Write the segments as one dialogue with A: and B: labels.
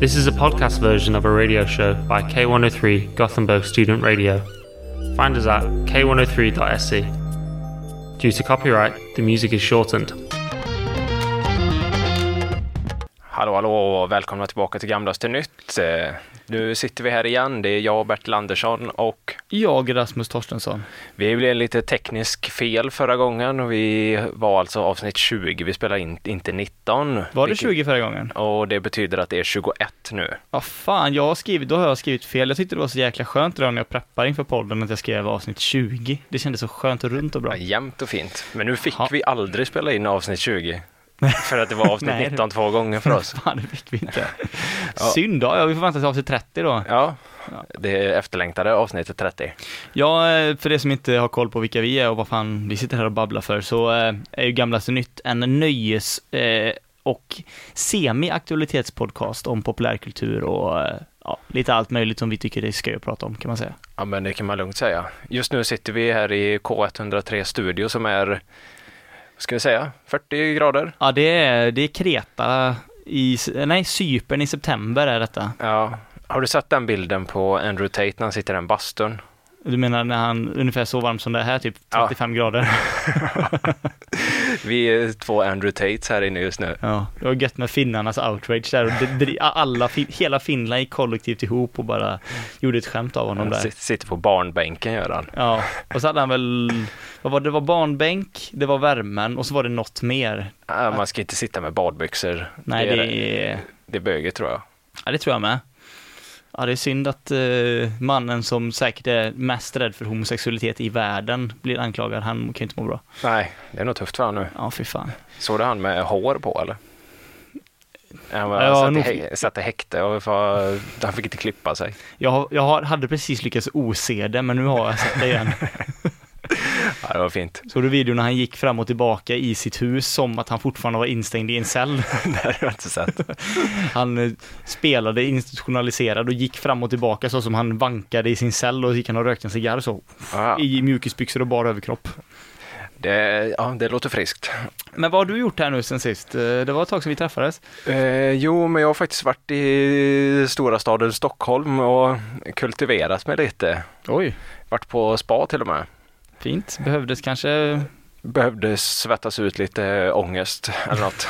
A: This is a podcast version of a radio show by K103 Gothenburg Student Radio. Find us at k103.se. E. Due to copyright, the music is shortened.
B: Hallå, hallå och välkomna tillbaka till Gamlas till nytt. Eh, Nu sitter vi här igen. Det är jag, Bertil Andersson och
C: Jag, Rasmus Torstensson.
B: vi blev lite teknisk fel förra gången och vi var alltså avsnitt 20. Vi spelade in, inte 19.
C: Var det
B: vilket-
C: 20 förra gången?
B: Och det betyder att det är 21 nu.
C: Ja, fan, jag har skrivit, då har jag skrivit fel. Jag tyckte det var så jäkla skönt idag när jag preppade inför podden att jag skrev avsnitt 20. Det kändes så skönt och runt och bra.
B: Ja, jämnt och fint. Men nu fick
C: Ja.
B: vi aldrig spela in avsnitt 20. För att det var avsnitt
C: Nej.
B: 19 två gånger för oss.
C: Fan, det fick vi inte.
B: alltså. Ja.
C: Synd då, ja, vi får vänta till avsnitt 30 då.
B: Ja, det är efterlängtade avsnittet 30.
C: Ja, eh, för de som inte har koll på vilka vi är och vad fan vi sitter här och babblar för, så eh, är ju Gamlaste Nytt en nöjes eh, och semi-aktualitetspodcast om populärkultur och eh, ja, lite allt möjligt som vi tycker det är skoj att prata om, kan man säga.
B: Ja, men det kan man lugnt säga. Just nu sitter vi här i K103 studio som är, vad ska vi säga, 40 grader.
C: Ja, det är, det är Kreta i, nej, Cypern i september är detta.
B: Ja. Har du sett den bilden på Andrew Tate när han sitter i den bastun?
C: Du menar när han, ungefär så varm som det är här, typ
B: Ja.
C: 35 grader?
B: Vi är två Andrew Tates här inne just nu.
C: Ja, det var gött med finnarnas outrage där och det- det- alla, fin- hela Finland gick kollektivt ihop och bara gjorde ett skämt av honom
B: Han
C: där.
B: sit- sitter på barnbänken gör han.
C: Ja, och så hade han väl, vad var det, det var barnbänk, det var värmen och så var det något mer.
B: Ja, man ska inte sitta med badbyxor.
C: Nej,
B: det,
C: det,
B: är, det.
C: är,
B: det är böget tror jag.
C: ja det tror jag med. Ja, det är synd att eh, mannen som säkert är mest rädd för homosexualitet i världen blir anklagad, han kan ju inte må bra.
B: Nej, det är nog tufft för han nu.
C: Ja, fy fan.
B: Såg du han med hår på eller? Han var,
C: Ja,
B: satt,
C: nog-
B: i, hä- satt i häkte och var, han fick inte klippa sig.
C: Jag, har- jag har, hade precis lyckats ose det, men nu har jag sett det igen.
B: Ja, det var fint.
C: Såg du videon när han gick fram och tillbaka i sitt hus som att han fortfarande var instängd i en cell?
B: Det har jag inte sett.
C: Han eh, spelade institutionaliserad och gick fram och tillbaka så som han vankade i sin cell och gick han och rökte en cigarr så.
B: Ja,
C: I mjukisbyxor och bara överkropp.
B: det, ja, det låter friskt.
C: Men vad har du gjort här nu sen sist? Eh, Det var ett tag sedan vi träffades.
B: Eh, jo, men jag har faktiskt varit i stora staden Stockholm och kultiverat mig lite.
C: Oj,
B: Varit på spa till och med.
C: fint. Behövdes kanske
B: Behövde svettas ut lite ångest eller något.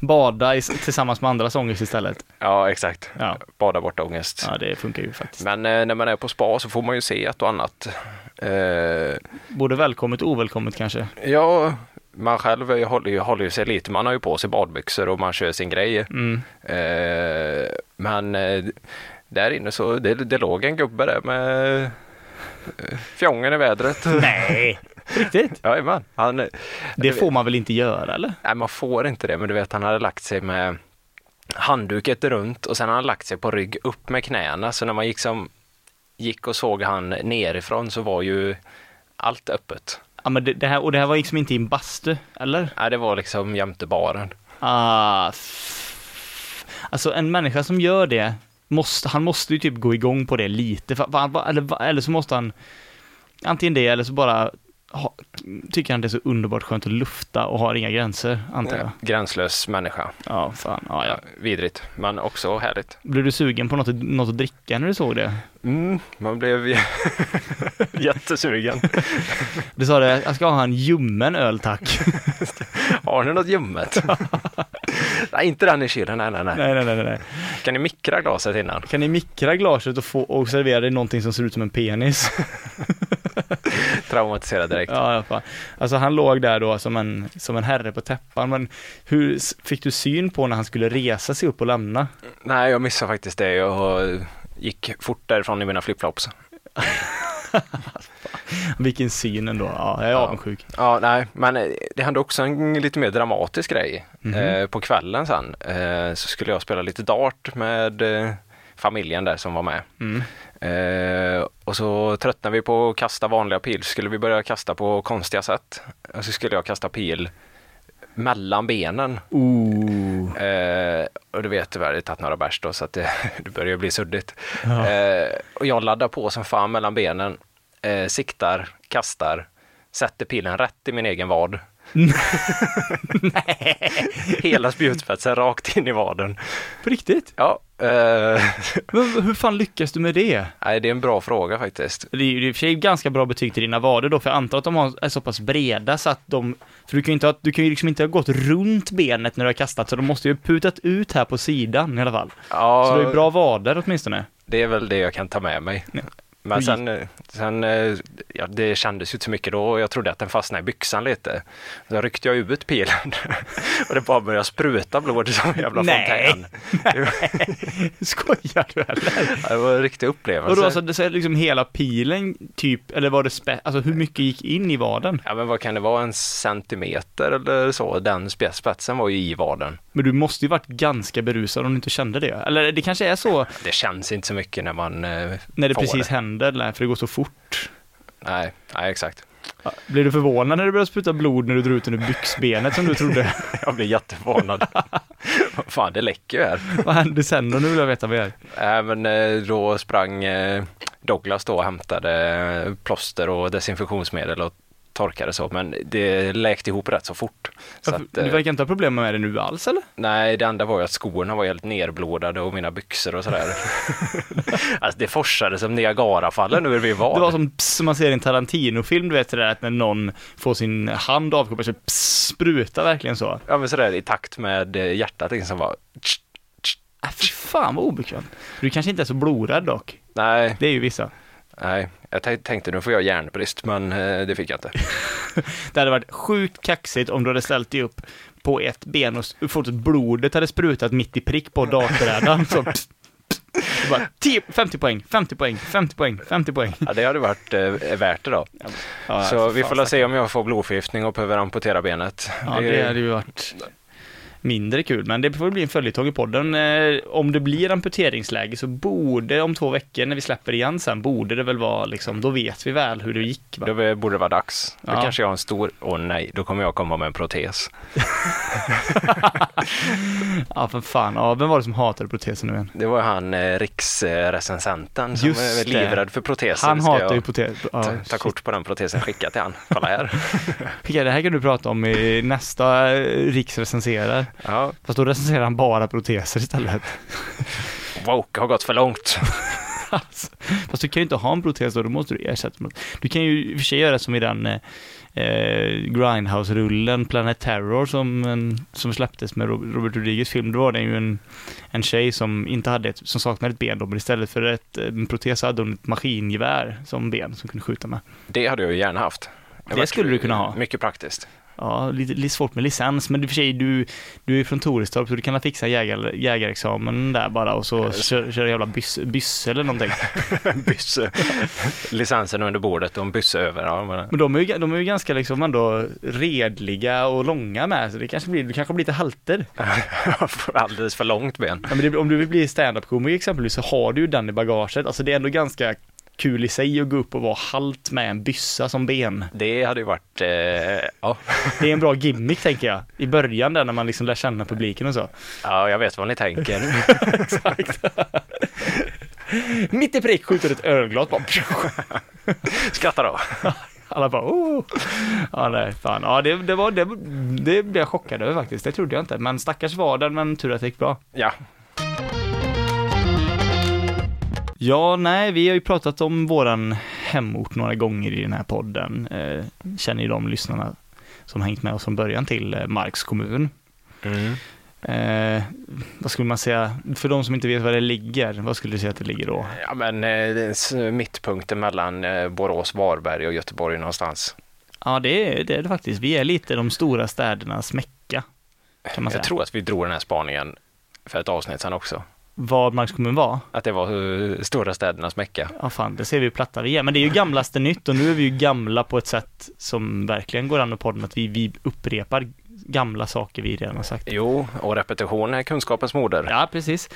C: bada i, tillsammans med andras ångest istället.
B: Ja, exakt.
C: Ja,
B: Bada bort ångest.
C: ja det funkar ju faktiskt.
B: Men eh, när man är på spa så får man ju se ett och annat. Eh,
C: Både välkommet och ovälkommet kanske.
B: ja, man själv är- håller ju, håller ju sig lite. Man har ju på sig badbyxor och man kör sin grej.
C: Mm.
B: Eh, men eh, där inne så det, det låg en gubbe där med eh, fjongen i vädret.
C: Nej, riktigt?
B: Jajamän. Han,
C: Det får man väl inte göra eller?
B: nej, man får inte det, men du vet han hade lagt sig med handduket runt och sen hade han lagt sig på rygg upp med knäna. Så när man gick, som, gick och såg han nerifrån så var ju allt öppet.
C: Ja, men det, det här, och det här var liksom inte i en bastu, eller?
B: Nej, det var liksom jämte baren.
C: Ah, f- alltså en människa som gör det, måste, han måste ju typ gå igång på det lite, för, va- va- eller, va- eller så måste han, antingen det eller så bara ha, tycker han det är så underbart skönt att lufta och har inga gränser, antar jag.
B: Gränslös människa.
C: Ja, fan, ja, ja.
B: Vidrigt, men också härligt.
C: Blev du sugen på något, något att dricka när du såg det?
B: Mm, man blev jättesugen.
C: Du sa det, jag ska ha en ljummen öl tack.
B: Har ni något ljummet? nej, inte den i kylen. Nej, nej, nej.
C: nej, nej, nej, nej, nej.
B: Kan ni mikra glaset innan?
C: Kan ni mikra glaset och, få, och servera dig någonting som ser ut som en penis?
B: Traumatisera direkt.
C: Ja, ja, fan. Alltså han låg där då som en, som en herre på täppan, men hur s- fick du syn på när han skulle resa sig upp och lämna?
B: Nej, jag missade faktiskt det. Jag gick fort därifrån i mina flipflops.
C: Vilken syn ändå, ja, jag är
B: Ja.
C: avundsjuk.
B: Ja, nej, men eh, det hände också en lite mer dramatisk grej.
C: Mhm.
B: Eh, på kvällen sen eh, så skulle jag spela lite dart med eh, familjen där som var med.
C: Mm.
B: Eh, och så tröttnade vi på att kasta vanliga pil, så skulle vi börja kasta på konstiga sätt. Och så skulle jag kasta pil mellan benen.
C: Ooh.
B: Eh, och du vet, vi hade tagit några bärs då så att det, det börjar bli suddigt.
C: Ja.
B: Eh, och jag laddar på som fan mellan benen, eh, siktar, kastar, sätter pilen rätt i min egen vad. Hela spjutspetsen rakt in i vaden.
C: På riktigt?
B: Ja, eh,
C: Men hur fan lyckas du med det?
B: nej, det är en bra fråga faktiskt.
C: Det är ju det är i och för sig ganska bra betyg till dina vader då, för jag antar att de har, är så pass breda så att de... För du kan ju inte ha, du kan ju liksom inte ha gått runt benet när du har kastat, så de måste ju ha putat ut här på sidan i alla fall. Så det
B: Ja,
C: är ju bra vader åtminstone.
B: det är väl det jag kan ta med mig. Men
C: Hur
B: sen, eh, sen eh, ja, det kändes ju inte så mycket då och jag trodde att den fastnade i byxan lite. Då ryckte jag ut pilen och det bara började spruta blod som en jävla
C: Nej.
B: fontän. Det var-
C: Skojar du eller?
B: Det var en riktig upplevelse.
C: Och då alltså, det så är liksom hela pilen typ, eller var det spe, alltså hur mycket gick in i vaden?
B: Ja men vad kan det vara, en centimeter eller så? Den spe- spetsen var ju i vaden.
C: Men du måste ju varit ganska berusad om du inte kände det. Eller det kanske är så
B: Det känns inte så mycket när man eh,
C: när det
B: får
C: precis händer, nej, för det går så fort.
B: Nej, nej exakt.
C: Ja, Blev du förvånad när det började spruta blod när du drog ut den ur byxbenet som du trodde?
B: Jag blev jätteförvånad. Fan, det läcker ju här.
C: Vad hände sen då? Nu vill jag veta mer.
B: Nej, men eh, då sprang eh, Douglas då och hämtade eh, plåster och desinfektionsmedel och torkade så, men det läkte ihop rätt så fort. Så
C: Ja,
B: att,
C: för- Du
B: eh,
C: verkar inte ha problem med det nu alls eller?
B: Nej, det enda var ju att skorna var helt nerblodade och mina byxor och sådär. alltså det forsade som Niagarafallen ur min vad.
C: Det var som pss, som man ser i en Tarantino-film, du vet det där att när någon får sin hand avkopplad så pss, sprutar verkligen så.
B: Ja men sådär i takt med eh, hjärtat liksom var
C: Äh, fy fan vad obekvämt. Du kanske inte är så blodrädd dock.
B: Nej,
C: Det är ju vissa.
B: nej. Jag tän- tänkte nu får jag järnbrist men eh, det fick jag inte.
C: Det hade varit sjukt kaxigt om du hade ställt dig upp på ett ben och s- fått att blodet hade sprutat mitt i prick på databrädan. Så pss, pss. Det bara, 10, 50 poäng, 50 poäng, 50 poäng, 50 poäng.
B: Ja, det hade varit eh, värt det då.
C: Ja,
B: Så vi
C: fan,
B: får väl se om jag får blodförgiftning och behöver amputera benet.
C: Ja,
B: Det-
C: det hade ju varit mindre kul, men det får bli en följetong i podden. Eh, Om det blir amputeringsläge så borde, om två veckor när vi släpper igen sen, borde det väl vara liksom, då vet vi väl hur det gick va?
B: Då borde det vara dags. Då
C: Ja.
B: kanske jag har en stor, åh nej, då kommer jag komma med en protes.
C: Ja, för fan. Ja, vem var det som hatade protesen nu igen?
B: Det var han eh, riksrecensenten som
C: Just
B: är
C: det.
B: livrad för proteser.
C: Han
B: Ska
C: hatar ju
B: jag
C: protesen.
B: ta,
C: Ja,
B: ta kort på den protesen, skicka till han. Kolla här.
C: Skicka, det här kan du prata om i nästa eh, riksrecenserar.
B: Ja,
C: Fast då recenserar han bara proteser istället.
B: woke har gått för långt.
C: Alltså, fast du kan ju inte ha en protes då, då måste du ersätta med något. Du kan ju i och för sig göra som i den eh, eh, Grindhouse-rullen, Planet Terror, som, en, som släpptes med Rob- Robert Rodriguez film. Då var det ju en, en tjej som inte hade ett, som saknade ett ben då, men istället för ett, eh, en protes hade hon ett maskingevär som ben som kunde skjuta med.
B: Det hade jag ju gärna haft.
C: Det
B: var
C: skulle
B: kul.
C: du kunna ha.
B: Mycket praktiskt.
C: Ja, lite, lite svårt med licens, men i och för sig, du, du är från Torestorp så du kan fixa jägar, jägarexamen där bara och så kö- köra jävla byss- bysse eller någonting.
B: Bysse. Licensen under bordet och en bysse över. Ja, men...
C: Men de är, ju, de är ju ganska liksom ändå redliga och långa med, så det kanske blir, det kanske blir lite halter.
B: Alldeles för långt ben.
C: Ja, men det, om du vill bli standup-komiker exempelvis så har du ju den i bagaget. Alltså det är ändå ganska kul i sig att gå upp och vara halt med en byssa som ben.
B: Det hade ju varit, eh, ja.
C: Det är en bra gimmick tänker jag, i början där när man liksom lär känna publiken och så.
B: ja, jag vet vad ni tänker.
C: Mitt i prick skjuter ett ölglas bara.
B: Skratta då.
C: Alla bara oh. Ja nej, fan. Ja det, det var, det, det blev jag chockad över faktiskt. Det trodde jag inte. Men stackars var den, men tur att det gick bra.
B: Ja,
C: Ja, nej, vi har ju pratat om våran hemort några gånger i den här podden. Eh, känner ju de lyssnarna som hängt med oss från början till eh, Marks kommun. Mm. Eh, vad skulle man säga, för de som inte vet var det ligger, vad skulle du säga att det ligger då?
B: ja men eh, det är s- mittpunkten mellan eh, Borås, Varberg och Göteborg någonstans.
C: Ja, det är det, är det faktiskt. Vi är lite de stora städernas Mecka, kan man säga.
B: Jag tror att vi drog den här spaningen för ett avsnitt sedan också.
C: Vad Marks kommun var?
B: Att det var eh, stora städernas mecka.
C: Ja, fan, det ser vi ju platta vi är. Men det är ju gamlaste nytt och nu är vi ju gamla på ett sätt som verkligen går an med podden, att vi, vi upprepar gamla saker vi redan har sagt.
B: Jo, och repetition är kunskapens moder.
C: Ja, precis.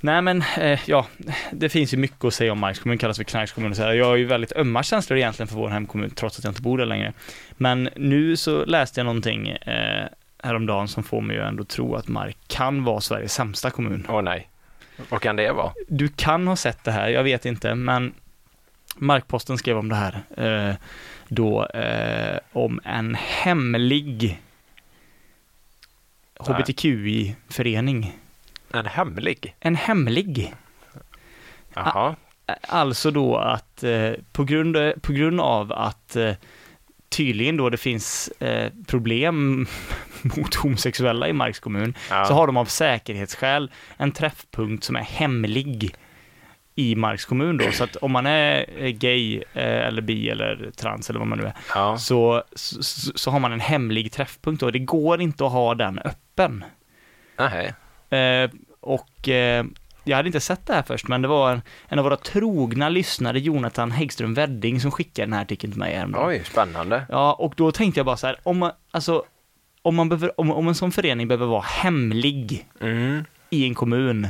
C: Nej men, eh, ja, det finns ju mycket att säga om Marks kommun, kallas för knarkskommun och så här. Jag har ju väldigt ömma känslor egentligen för vår hemkommun, trots att jag inte bor där längre. Men nu så läste jag någonting eh, häromdagen som får mig ju ändå tro att Mark kan vara Sveriges sämsta kommun.
B: Åh nej. Vad kan det vara?
C: Du kan ha sett det här, jag vet inte, men Markposten skrev om det här. Eh, då eh, om en hemlig hbtqi-förening.
B: En hemlig?
C: En hemlig.
B: Jaha.
C: Alltså då att eh, på, grund, på grund av att eh, tydligen då det finns eh, problem mot homosexuella i Marks kommun
B: Ja.
C: så har de av säkerhetsskäl en träffpunkt som är hemlig i Marks kommun då. Så att om man är eh, gay eh, eller bi eller trans eller vad man nu är
B: ja.
C: så, så, så har man en hemlig träffpunkt då. Det går inte att ha den öppen.
B: Nej.
C: Eh, och eh, jag hade inte sett det här först, men det var en, en av våra trogna lyssnare, Jonathan Häggström Wedding, som skickade den här artikeln till mig häromdagen.
B: Oj, spännande.
C: Ja, och då tänkte jag bara så här, om man, alltså, om, man behöver, om, om en sån förening behöver vara hemlig
B: Mm.
C: i en kommun,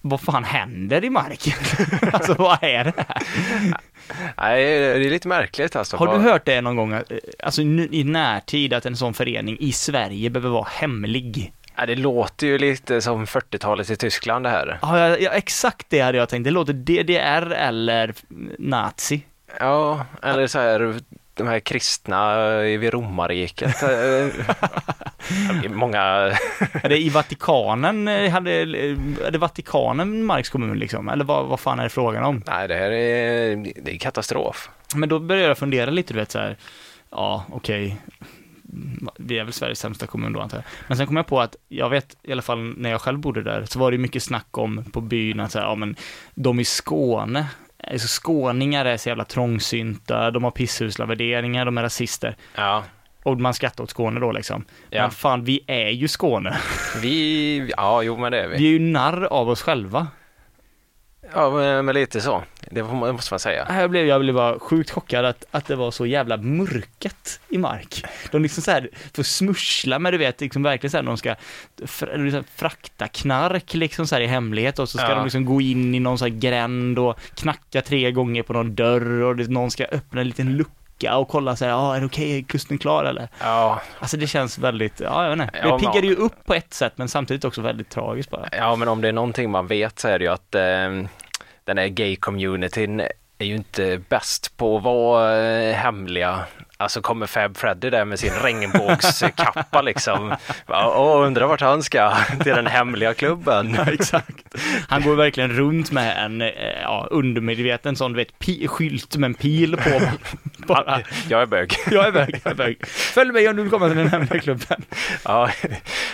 C: vad fan händer i marken? alltså vad är det här?
B: Nej, det är lite märkligt alltså.
C: Har
B: Vad-
C: du hört det någon gång, eh, alltså nu, i närtid, att en sån förening i Sverige behöver vara hemlig?
B: Ja, det låter ju lite som 40-talet i Tyskland det här.
C: Ja, ja, ja, exakt det hade jag tänkt. Det låter DDR eller nazi.
B: Ja, eller så här de här kristna eh, vid romarriket. Eh, det är många,
C: Är det i Vatikanen, eh, hade, är det Vatikanen Marks kommun liksom? Eller vad, vad fan är det frågan om?
B: nej det här är, det är katastrof.
C: Men då började jag fundera lite, du vet så här, ja okej, vi är väl Sveriges sämsta kommun då antar jag. Men sen kom jag på att, jag vet i alla fall när jag själv bodde där, så var det ju mycket snack om på byn att så här, ja men de i Skåne, alltså skåningar är så jävla trångsynta, de har pisshusla värderingar, de är rasister.
B: Ja,
C: Och man skrattar åt Skåne då liksom.
B: Ja.
C: Men fan, vi är ju Skåne.
B: vi, ja jo men det är vi.
C: Vi är ju narr av oss själva.
B: Ja men, men lite så, det får man- måste man säga.
C: Här blev, jag blev bara sjukt chockad att, att det var så jävla mörket i mark. De liksom så här får smussla med, du vet, liksom verkligen så här när de ska fr- eller liksom frakta knark liksom så här i hemlighet och så ska
B: Ja.
C: de liksom gå in i någon så här gränd och knacka tre gånger på någon dörr och det, någon ska öppna en liten lucka och kolla så här, ja ah, är det okej, är kusten klar eller?
B: Ja,
C: Alltså det känns väldigt, ja jag vet inte.
B: Ja,
C: Det
B: men-
C: piggar ju upp på ett sätt men samtidigt också väldigt tragiskt bara.
B: ja men om det är någonting man vet så är det ju att eh, den här gay-communityn är ju inte bäst på att vara eh, hemliga. Alltså kommer Fab Freddy där med sin regnbågskappa liksom. Ja, Åh, undrar vart han ska, till den hemliga klubben.
C: Ja, exakt. Han går verkligen runt med en eh, ja, undermedveten sån, du vet, pi- skylt med en pil på. Bara,
B: Jag är bög.
C: jag är väg, jag är väg. Följ mig om du vill komma till den hemliga klubben.
B: Ja,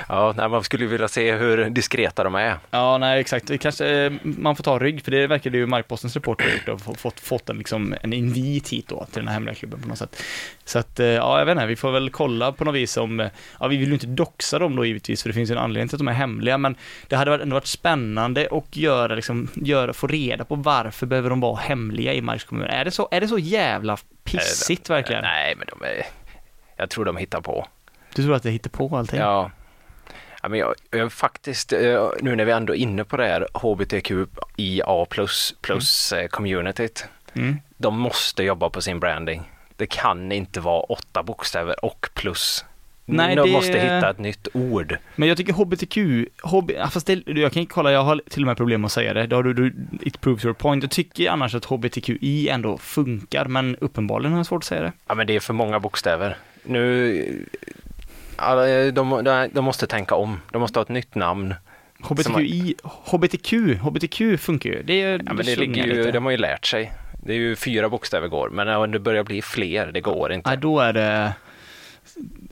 B: ja nej, man skulle ju vilja se hur diskreta de är.
C: Ja, nej, exakt. Det Kanske eh, man får ta rygg, för det verkade ju Markpostens reporter ha gjort och få- fått, fått en, liksom, en invit hit då, till den här hemliga klubben på något sätt. Så att, eh, ja, jag vet inte, vi får väl kolla på något vis om, eh, ja, vi vill ju inte doxa dem då givetvis, för det finns ju en anledning till att de är hemliga, men det hade varit- ändå varit spännande och göra, liksom, göra, få reda på varför behöver de vara hemliga i Marks kommun. Är det så, är det så jävla pissigt verkligen?
B: Nej, men de är... Jag tror de hittar på.
C: Du tror att det hittar på allting?
B: Ja. ja men jag, jag faktiskt, eh, nu när vi ändå är inne på det här hbtqia plus, plus eh, communityt.
C: Mm.
B: De måste jobba på sin branding. Det kan inte vara åtta bokstäver och plus.
C: Nej,
B: de
C: det-
B: måste hitta ett nytt ord.
C: Men jag tycker HBTQ, HB, ja, fast det, jag kan kolla, jag har till och med problem med att säga det. Då har du, du, it proves your point. Jag tycker annars att HBTQI ändå funkar, men uppenbarligen har jag svårt att säga det.
B: Ja, men det är för många bokstäver. Nu... ja, de, de, de måste tänka om. De måste ha ett nytt namn.
C: HBTQI, HBTQ, HBTQ funkar ju. Det, är-
B: Ja,
C: det
B: men det ligger
C: slingar
B: ju,
C: lite.
B: de har ju lärt sig. Det är ju fyra bokstäver går, men när det börjar bli fler, det går inte.
C: Ja, då är det,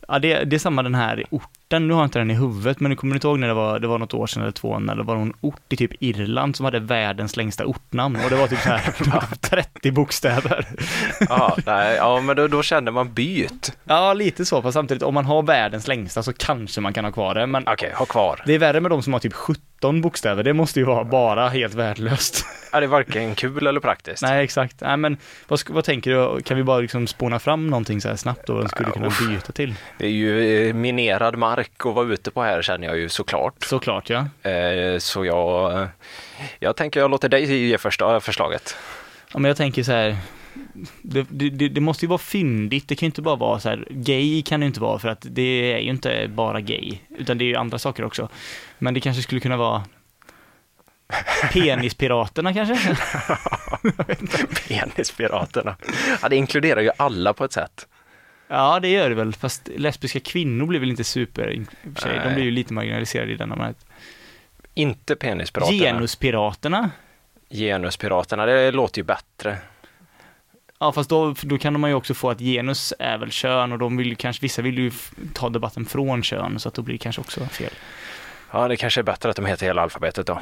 C: ja, det, det är samma den här orten, nu har jag inte den i huvudet, men nu kommer du inte ihåg när det var, det var något år sedan eller två, när det var någon ort i typ Irland som hade världens längsta ortnamn och det var typ så här 30 bokstäver.
B: Ja, nej, ja men då, då känner man byt.
C: Ja, lite så, fast samtidigt om man har världens längsta så kanske man kan ha kvar det, men
B: Okej, ha kvar.
C: det är värre med de som har typ 17 bokstäver, det måste ju vara bara helt värdelöst.
B: Ja, det är varken kul eller praktiskt.
C: Nej, exakt. Nej, men vad, sk- vad tänker du, kan vi bara liksom spåna fram någonting så här snabbt då, vad skulle du kunna byta till?
B: Det är ju eh, minerad mark att vara ute på här känner jag ju såklart.
C: Såklart ja.
B: Eh, så jag, jag tänker jag låter dig ge första eh, förslaget.
C: ja men jag tänker så här, det, det, det- det måste ju vara fyndigt, det kan ju inte bara vara så här, gay kan det ju inte vara för att det är ju inte bara gay, utan det är ju andra saker också. Men det kanske skulle kunna vara Penispiraterna kanske?
B: Penispiraterna. Ja, det inkluderar ju alla på ett sätt.
C: Ja, det gör det väl, fast lesbiska kvinnor blir väl inte super, i och för sig. de
B: Nej.
C: blir ju lite marginaliserade i denna med.
B: Inte penispiraterna.
C: Genuspiraterna?
B: Genuspiraterna, det låter ju bättre.
C: Ja, fast då, då kan man ju också få att genus är väl kön och de vill ju kanske, vissa vill ju f- ta debatten från kön, så att då blir det kanske också fel.
B: Ja, det kanske är bättre att de heter hela alfabetet då.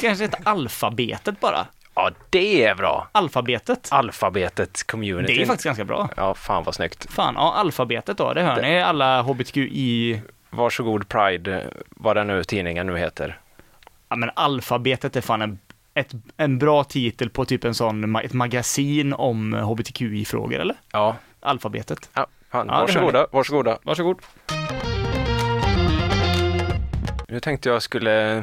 C: Kanske inte alfabetet bara?
B: Ja, det är bra.
C: Alfabetet?
B: Alfabetet community.
C: Det är faktiskt ganska bra.
B: Ja, fan vad snyggt.
C: Fan, ja, alfabetet då, det hör ni, alla hbtqi...
B: Varsågod Pride, eh, vad den nu tidningen nu heter.
C: Ja, men alfabetet är fan en, ett, en bra titel på typ en sån, ma- ett magasin om hbtqi-frågor, eller?
B: Ja,
C: Alfabetet.
B: ja, fan,
C: Ja, det
B: varsågoda, varsågoda.
C: Varsågod.
B: Nu tänkte jag skulle eh,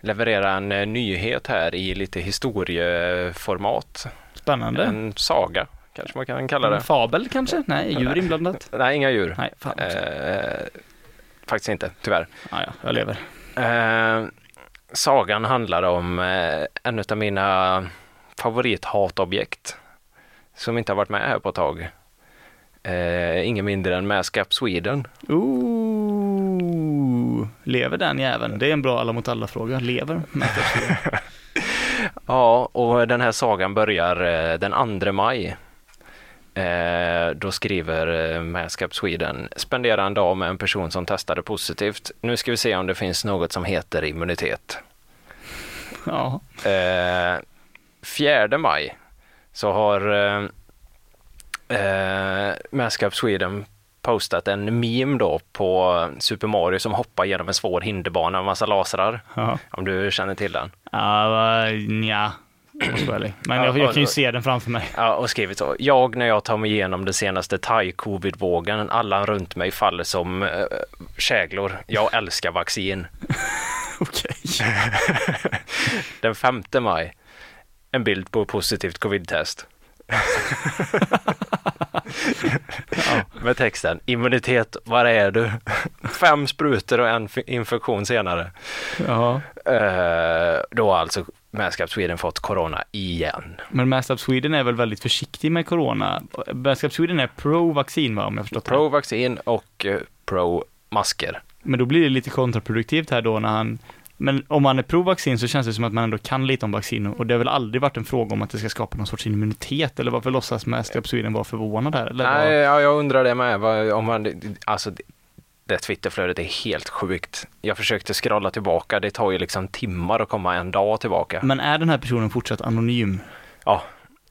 B: leverera en eh, nyhet här i lite historieformat.
C: Spännande.
B: En saga, kanske man kan kalla
C: En
B: det.
C: fabel kanske? Nej, djur inblandat?
B: Nej, inga djur.
C: Nej, fan också.
B: Eh, faktiskt inte, tyvärr.
C: Ja, ja, jag lever.
B: Eh, sagan handlar om eh, en av mina favorithatobjekt som inte har varit med här på ett tag. Eh, ingen mindre än Mascap Sweden.
C: Ooh, lever den jäveln? Det är en bra alla mot alla-fråga. Lever?
B: Ja, och den här sagan börjar eh, den 2 maj. Eh, då skriver eh, Mascap Sweden, spendera en dag med en person som testade positivt. Nu ska vi se om det finns något som heter immunitet.
C: Ja.
B: Eh, 4 maj så har eh, eh, Mascap Sweden postat en meme då på Super Mario som hoppar genom en svår hinderbana med massa lasrar.
C: Ja,
B: Om du känner till den.
C: ja nja. Jag måste vara ärlig. Men jag, jag kan ju se den framför mig.
B: Ja, och skrivit så. Jag när jag tar mig igenom den senaste thai-covid-vågen, alla runt mig faller som eh, käglor. Jag älskar vaccin.
C: Okej.
B: Den 5 maj, en bild på positivt covid-test. Med texten, immunitet, var är du? Fem sprutor och en fi- infektion senare.
C: Ja.
B: Eh, då har alltså Manscaped Sweden fått corona igen.
C: Men Mascap Sweden är väl väldigt försiktig med corona? Mascap Sweden är pro-vaccin va, om jag förstått det.
B: Pro-vaccin och eh, pro-masker.
C: Men då blir det lite kontraproduktivt här då när han men om man är pro-vaccin så känns det som att man ändå kan lite om vaccin och det har väl aldrig varit en fråga om att det ska skapa någon sorts immunitet eller varför låtsas Mascap Sweden vara förvånad här? Eller
B: Nej,
C: vad?
B: ja, jag undrar det med. Vad- Om man, alltså, det- det Twitterflödet är helt sjukt. Jag försökte scrolla tillbaka. Det tar ju liksom timmar att komma en dag tillbaka.
C: Men är den här personen fortsatt anonym?
B: Ja.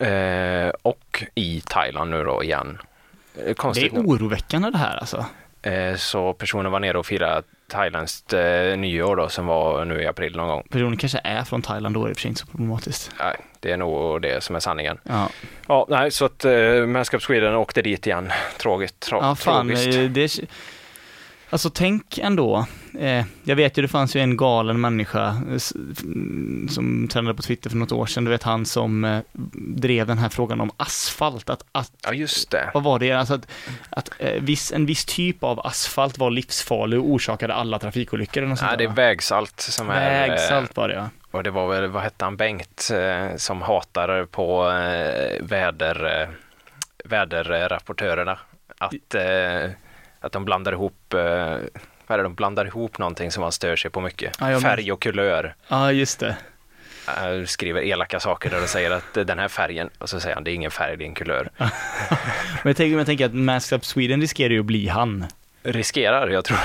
B: Eh, och i Thailand nu då igen. Eh,
C: Det
B: Konstigt
C: är
B: nog.
C: oroväckande det här alltså.
B: eh, Så personen var nere och firade thailändskt eh, nyår då som var nu i april någon gång.
C: Personen kanske är från Thailand, då är det i och för sig inte så problematiskt.
B: Nej, det är nog det som är sanningen.
C: Ja,
B: Ja, nej, så att eh, Manscaped Sweden åkte dit igen. Tragiskt. Tra-
C: ja fan,
B: tragiskt.
C: eh, det... Alltså tänk ändå. Eh, jag vet ju, det fanns ju en galen människa eh, s- mm, som tränade på Twitter för något år sedan, du vet han som eh, drev den här frågan om asfalt, att, att
B: Ja, just det.
C: vad var det? Alltså att, att eh, viss, en viss typ av asfalt var livsfarlig och orsakade alla trafikolyckor eller något
B: Nej,
C: sånt
B: det är
C: där, va?
B: vägsalt som är... eh,
C: Vägsalt var det ja.
B: Och det var väl, vad hette han, Bengt eh, som hatar på eh, väder, eh, väderrapportörerna. Att, eh, att de blandar ihop, eh, vad är det, de blandar ihop någonting som man stör sig på mycket.
C: Ja, jag men-
B: Färg och kulör.
C: Ja, just det.
B: Eh, skriver elaka saker där och säger att eh, den här färgen, och så säger han det är ingen färg, det är en kulör.
C: Men jag tänker, men jag tänker att Masked Up Sweden riskerar ju att bli han.
B: Riskerar, jag tror.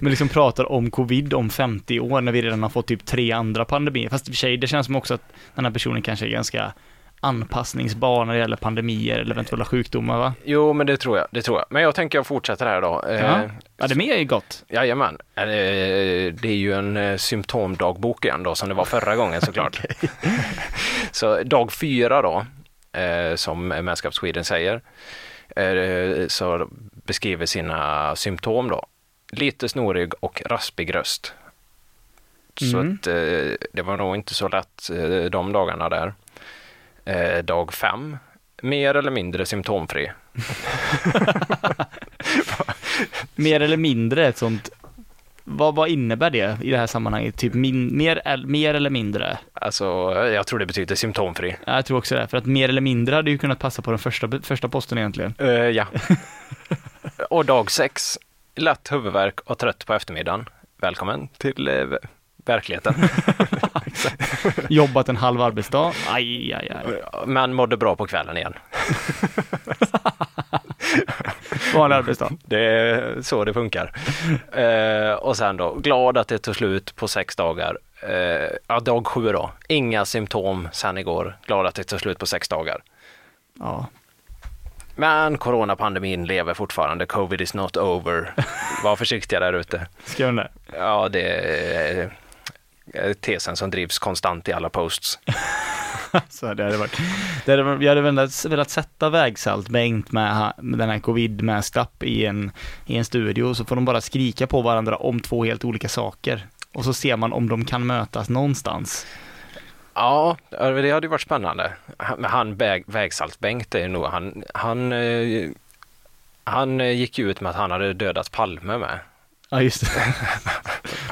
C: Men liksom pratar om covid om 50 år när vi redan har fått typ tre andra pandemier. Fast i och för sig, det känns som också att den här personen kanske är ganska anpassningsbar när det gäller pandemier eller eventuella sjukdomar va?
B: Jo, men det tror jag, det tror jag. Men jag tänker jag fortsätter här då. Eh,
C: Ja, ja det med är ju gott.
B: Jajamän. Eh, Det är ju en eh, symptomdagbok igen då, som det var förra gången såklart. Så dag fyra då, eh, som Manscaped Sweden säger, eh, så beskriver sina symptom då. Lite snorig och raspig röst. Så
C: Mm.
B: att, eh, det var nog inte så lätt eh, de dagarna där. Eh, Dag fem, mer eller mindre symptomfri.
C: Mer eller mindre ett sånt Vad, vad innebär det i det här sammanhanget? Typ min, mer, el- mer eller mindre?
B: Alltså, jag tror det betyder symptomfri.
C: Ja, Jag tror också det, för att mer eller mindre hade ju kunnat passa på den första, första posten egentligen.
B: Eh, ja. och dag sex. Lätt huvudvärk och trött på eftermiddagen. Välkommen till eh, v- verkligheten.
C: Jobbat en halv arbetsdag. Aj, aj, aj.
B: Men mådde bra på kvällen igen.
C: Vanlig arbetsdag.
B: Det är så det funkar. Eh, och sen då, glad att det tog slut på sex dagar. Eh, ja, dag sju då. Inga symptom sen igår. Glad att det tog slut på sex dagar.
C: Ja.
B: Men coronapandemin lever fortfarande. Covid is not over. Var försiktiga där ute.
C: Ska jag där?
B: Ja, det är eh, tesen som drivs konstant i alla posts.
C: Så det hade varit. Det hade, varit- jag hade velat, velat sätta vägsalt Bengt med, ha- med den här covid med stapp i en, i en studio, så får de bara skrika på varandra om två helt olika saker. Och så ser man om de kan mötas någonstans.
B: Ja, det hade ju varit spännande. Han- Men han väg, Vägsalt-Bengt, det är nog han, han, eh, han eh, gick ju ut med att han hade dödat Palme med.
C: Ja, just det.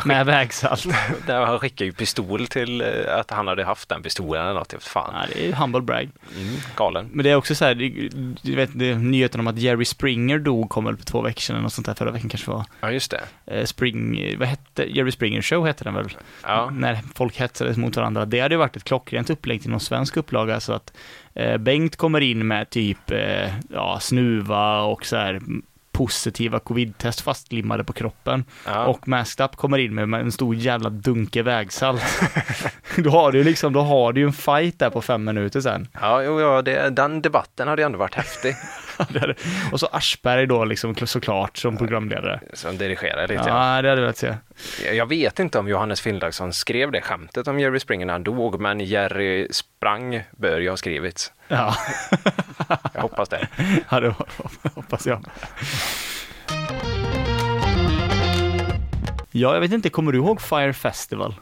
C: med vägsalt.
B: Där han skickade ju pistol till eh, att han hade haft den pistolen eller något, jag vet fan.
C: Ja, det är ju humble brag.
B: Mm, galen.
C: Men det är också så här, det- du vet, det, nyheten om att Jerry Springer dog kom väl för två veckor sedan eller något sånt där, förra veckan kanske var.
B: Ja, just det.
C: Eh, Spring, vad hette, Jerry Springer Show hette den väl?
B: Ja,
C: När folk hetsades mot varandra. Det hade ju varit ett klockrent upplägg till någon svensk upplaga så att eh, Bengt kommer in med typ, eh, ja, snuva och så här m- positiva covid-test fastlimmade på kroppen.
B: ja.
C: Och Masked Up kommer in med, med en stor jävla dunke vägsalt. då har du ju liksom, då har du ju en fight där på fem minuter sen.
B: ja, jo, ja det, den debatten hade ju ändå varit häftig.
C: Och så Aschberg då liksom såklart som programledare.
B: Som dirigerar lite. Ja.
C: Ja, det hade jag velat se.
B: Jag vet inte om Johannes Finnlaugsson skrev det skämtet om Jerry Springer när han dog, men Jerry sprang bör ju ha skrivits.
C: Ja,
B: Jag hoppas det.
C: ja det hoppas jag. Ja, jag vet inte, kommer du ihåg Fire Festival?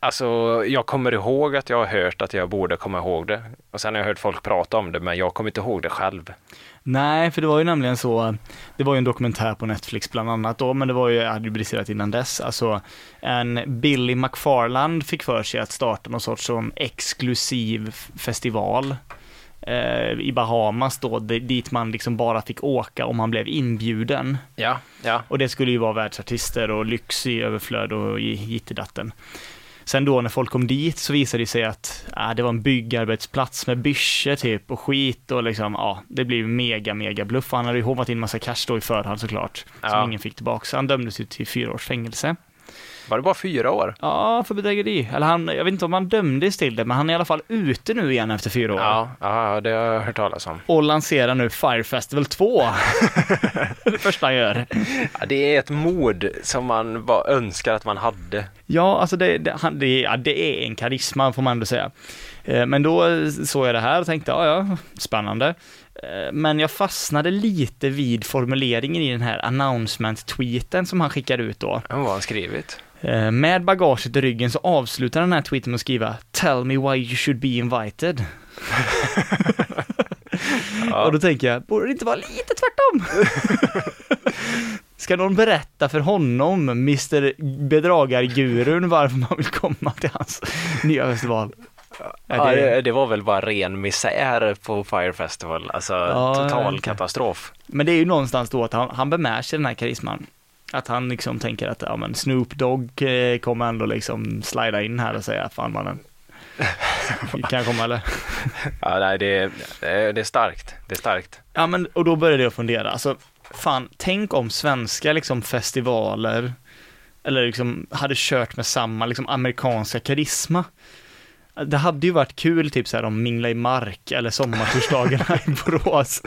B: Alltså, jag kommer ihåg att jag har hört att jag borde komma ihåg det. Och sen har jag hört folk prata om det, men jag kommer inte ihåg det själv.
C: Nej, för det var ju nämligen så, det var ju en dokumentär på Netflix bland annat då, men det var ju, jag hade ju briserat innan dess, alltså en Billy McFarland fick för sig att starta någon sorts sån exklusiv f- festival eh, i Bahamas då, d- dit man liksom bara fick åka om man blev inbjuden.
B: Ja, ja.
C: Och det skulle ju vara världsartister och lyx i överflöd och i- jitterdatten. Sen då när folk kom dit så visade det sig att ah, det var en byggarbetsplats med bysche typ och skit och liksom, ja, det blev mega, mega bluff. Och Han hade ju håvat in massa cash då i förhand såklart, som
B: Ja.
C: ingen fick tillbaka. Så han dömdes ju till fyra års fängelse.
B: Var det bara fyra år?
C: Ja, för bedrägeri. Eller han, jag vet inte om han dömdes till det, men han är i alla fall ute nu igen efter fyra år.
B: Ja, ja, det har jag hört talas om.
C: Och lanserar nu Fire Festival 2. det första han gör.
B: Ja, det är ett mod som man bara önskar att man hade.
C: Ja, alltså det, det, han, det, ja, det är en karisma får man ändå säga. Eh, Men då såg jag det här och tänkte, ja ja, spännande. Eh, Men jag fastnade lite vid formuleringen i den här announcement-tweeten som han skickar ut då.
B: Ja, Vad har han skrivit?
C: Eh, Med bagaget i ryggen så avslutar den här tweeten med att skriva “Tell me why you should be invited”. Och då tänker jag, borde det inte vara lite tvärtom? Ska någon berätta för honom, Mr Bedragargurun, varför man vill komma till hans nya festival?
B: Ja,
C: Ja, det,
B: det, det var väl bara ren misär på Fire Festival, alltså
C: Ja, jag
B: total
C: vet.
B: katastrof.
C: men det är ju någonstans då att han, han bemär sig den här karisman. Att han liksom tänker att, ja men Snoop Dogg eh, kommer ändå liksom slida in här och säga, fan mannen. Kan jag komma eller?
B: Ja, nej, det, det det är starkt. Det är starkt.
C: Ja men, och då började jag fundera, alltså fan, tänk om svenska liksom festivaler, eller liksom hade kört med samma liksom amerikanska karisma. Det hade ju varit kul typ så här om Mingla i mark eller sommartorsdagarna i Borås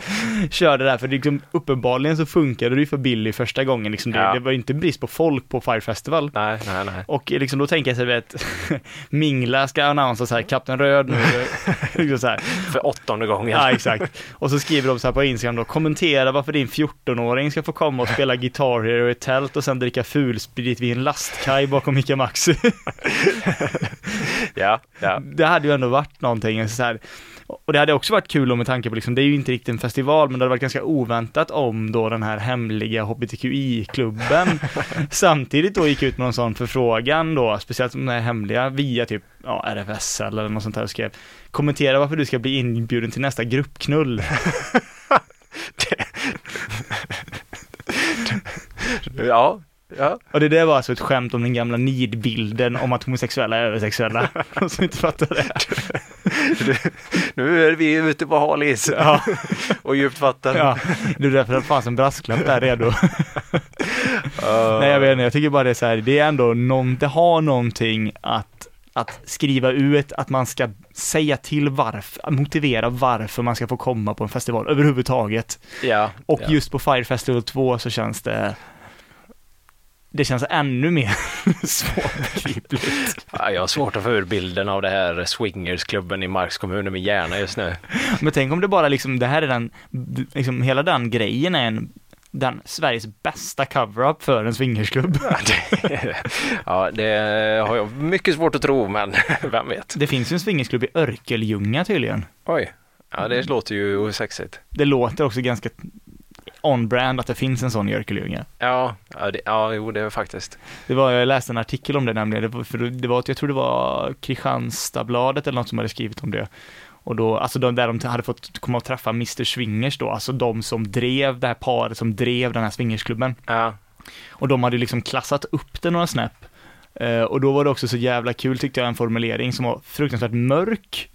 C: körde där, för liksom uppenbarligen så funkade det ju för Billy första gången liksom. Det,
B: Ja.
C: det var ju inte brist på folk på Fire Festival.
B: Nej, nej, nej.
C: Och liksom då tänker jag så här, vet, Mingla ska annonsa så här, Kapten Röd nu, liksom så här.
B: För åttonde gången.
C: Ja, exakt. Och så skriver de så här på Instagram då, kommentera varför din 14-åring ska få komma och spela Guitar Hero i ett tält och sen dricka fulsprit vid en lastkaj bakom Ica Maxi.
B: Ja, ja.
C: Det hade ju ändå varit någonting, alltså så här, Och det hade också varit kul om med tanke på liksom, det är ju inte riktigt en festival, men det hade varit ganska oväntat om då den här hemliga hbtqi-klubben samtidigt då gick ut med någon sån förfrågan då, speciellt om den här hemliga, via typ ja, RFS eller något sånt här och skrev kommentera varför du ska bli inbjuden till nästa gruppknull.
B: Ja, ja.
C: Och det där var alltså ett skämt om den gamla nidbilden om att homosexuella är översexuella. Och som inte fattar det.
B: Nu är vi ute på hal is
C: Ja,
B: och djupt vatten.
C: ja. Det är därför det fanns en brasklapp där redo.
B: Eh,
C: Nej jag vet inte, jag tycker bara det är så här, det är ändå någon, det har någonting att, att skriva ut, att man ska säga till varför, motivera varför man ska få komma på en festival överhuvudtaget.
B: ja,
C: Och
B: ja.
C: just på Fire Festival 2 så känns det, det känns ännu mer svårbegripligt.
B: Ja, jag har svårt att få ur bilden av det här swingersklubben i Marks kommun i min hjärna just nu.
C: Men tänk om det bara liksom, det här är den, liksom hela den grejen är en, den Sveriges bästa cover-up för en swingersklubb.
B: Ja, det har jag mycket svårt att tro, men vem vet.
C: Det finns ju en swingersklubb i Örkelljunga tydligen.
B: Oj, ja, det låter ju sexigt.
C: det låter också ganska on-brand att det finns en sån i Örkelljunga.
B: Ja, ja, det, ja jo, det är faktiskt.
C: Det var, jag läste en artikel om det nämligen, det var, för det var, jag tror det var Kristianstadsbladet eller något som hade skrivit om det. Och då, alltså de, där de hade fått komma och träffa Mr Swingers då, alltså de som drev, det här paret som drev den här swingersklubben.
B: Ja,
C: Och de hade ju liksom klassat upp det några snäpp. Eh, och då var det också så jävla kul tyckte jag, en formulering som var fruktansvärt mörk,